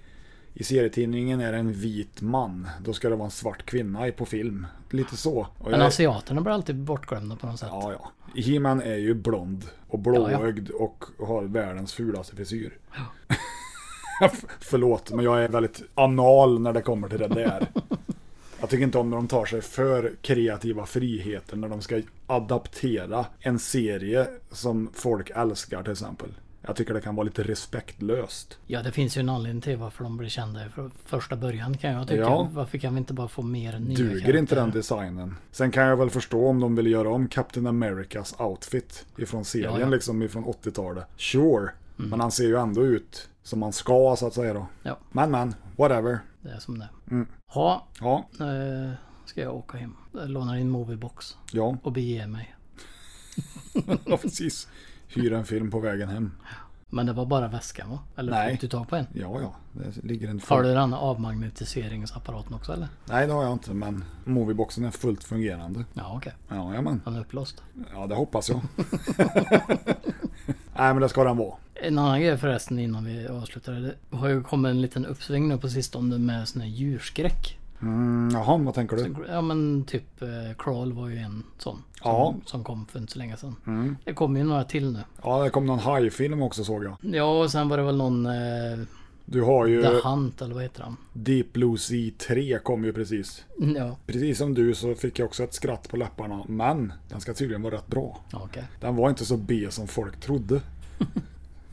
S2: I serietidningen är det en vit man. Då ska det vara en svart kvinna i- på film. Lite så. Och
S3: Men alltså,
S2: jag-
S3: asiaterna blir alltid bortglömda på något sätt.
S2: Ja, ja. He-Man är ju blond och blåögd och har världens fulaste frisyr. F- Förlåt, men jag är väldigt anal när det kommer till det där. Jag tycker inte om när de tar sig för kreativa friheter när de ska adaptera en serie som folk älskar till exempel. Jag tycker det kan vara lite respektlöst.
S3: Ja, det finns ju en anledning till varför de blir kända från första början kan jag tycka.
S2: Ja.
S3: Varför kan vi inte bara få mer nya
S2: Duger
S3: karaktärer?
S2: inte den designen? Sen kan jag väl förstå om de vill göra om Captain Americas outfit ifrån serien,
S3: Ja, Mm. ja.
S2: liksom ifrån 80-talet. Sure, men han ser ju ändå ut som han ska så att säga då.
S3: Ja,
S2: Men men, whatever.
S3: det är som det mm. Ha,
S2: Ja,
S3: nu ska jag åka hem. Jag lånar in Moviebox
S2: ja,
S3: och bege mig.
S2: ja precis. Hyra en film på vägen hem.
S3: Men det var bara väskan va? Eller
S2: Nej.
S3: fick du tag på en?
S2: Ja, ja. Det ligger en full...
S3: Har du den avmagnetiseringsapparaten också eller?
S2: Nej, det har jag inte, men movieboxen är fullt fungerande.
S3: Ja okej.
S2: Ja, men.
S3: Den är upplåst.
S2: Ja, det hoppas jag. Nej, men det ska den vara.
S3: En annan grej förresten innan vi avslutar. Det har ju kommit en liten uppsving nu på sistone med sån här djurskräck.
S2: Mm, jaha, vad tänker du?
S3: Ja men typ eh, Crawl var ju en sån. Som,
S2: Ja.
S3: som kom för inte så länge sedan. Det kommer ju några till nu.
S2: Ja, det kom någon hajfilm också såg jag.
S3: Ja och sen var det väl någon eh,
S2: Du har ju...
S3: The Hunt eller vad heter han?
S2: Deep Blue Sea 3 kom ju precis.
S3: Ja,
S2: Precis som du så fick jag också ett skratt på läpparna, men den ska tydligen vara rätt bra.
S3: ja, okej.
S2: Den var inte så B som folk trodde.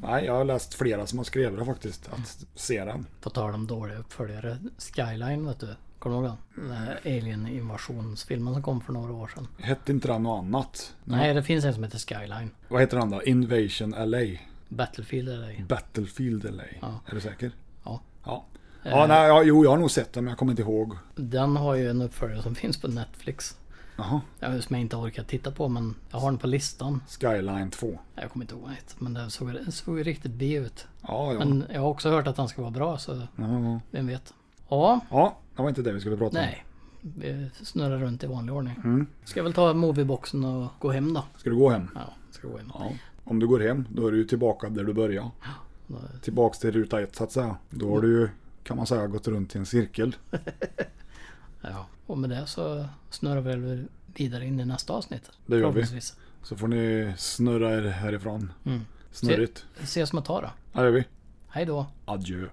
S2: Nej, jag har läst flera som har skrivit det faktiskt, att se den.
S3: På tal om dåliga uppföljare. Skyline vet du. Kommer du ihåg den? Den här Alien invasionsfilmen som kom för några år sedan.
S2: Hette inte den något annat?
S3: Nej det finns en som heter Skyline.
S2: Vad heter den då? Invasion LA?
S3: Battlefield är det.
S2: Battlefield LA? Är du säker?
S3: Ja.
S2: Ja. Ja, nej, ja, jo, jag har nog sett den, men jag kommer inte ihåg.
S3: Den har ju en uppföljare som finns på Netflix.
S2: Jaha.
S3: Ja, Som jag inte orkar titta på men jag har den på listan.
S2: Skyline 2.
S3: Jag kommer inte ihåg vad den heter, men den såg, den såg ju riktigt B ut.
S2: Ja, ja.
S3: Men jag har också hört att den ska vara bra så
S2: ja.
S3: vem vet. Ja,
S2: Ja, det var inte det vi skulle prata
S3: nej. Vi snurrar runt i vanlig ordning.
S2: Mm.
S3: Ska jag väl ta movieboxen och gå hem då.
S2: om. Ska du gå hem?
S3: Ja, ska gå hem.
S2: Ja. Om du går hem, då är du ju tillbaka där du började. Tillbaks till ruta ett så att säga. Då har du ju, kan man säga, gått runt i en cirkel.
S3: Ja. Och med det så snurrar vi väl vidare in i nästa avsnitt.
S2: Det gör vi.
S3: Förhoppningsvis.
S2: Så får ni snurra er härifrån. Snurrigt.
S3: Ses om ett tag då.
S2: Här är vi.
S3: Hej då.
S2: Adjö.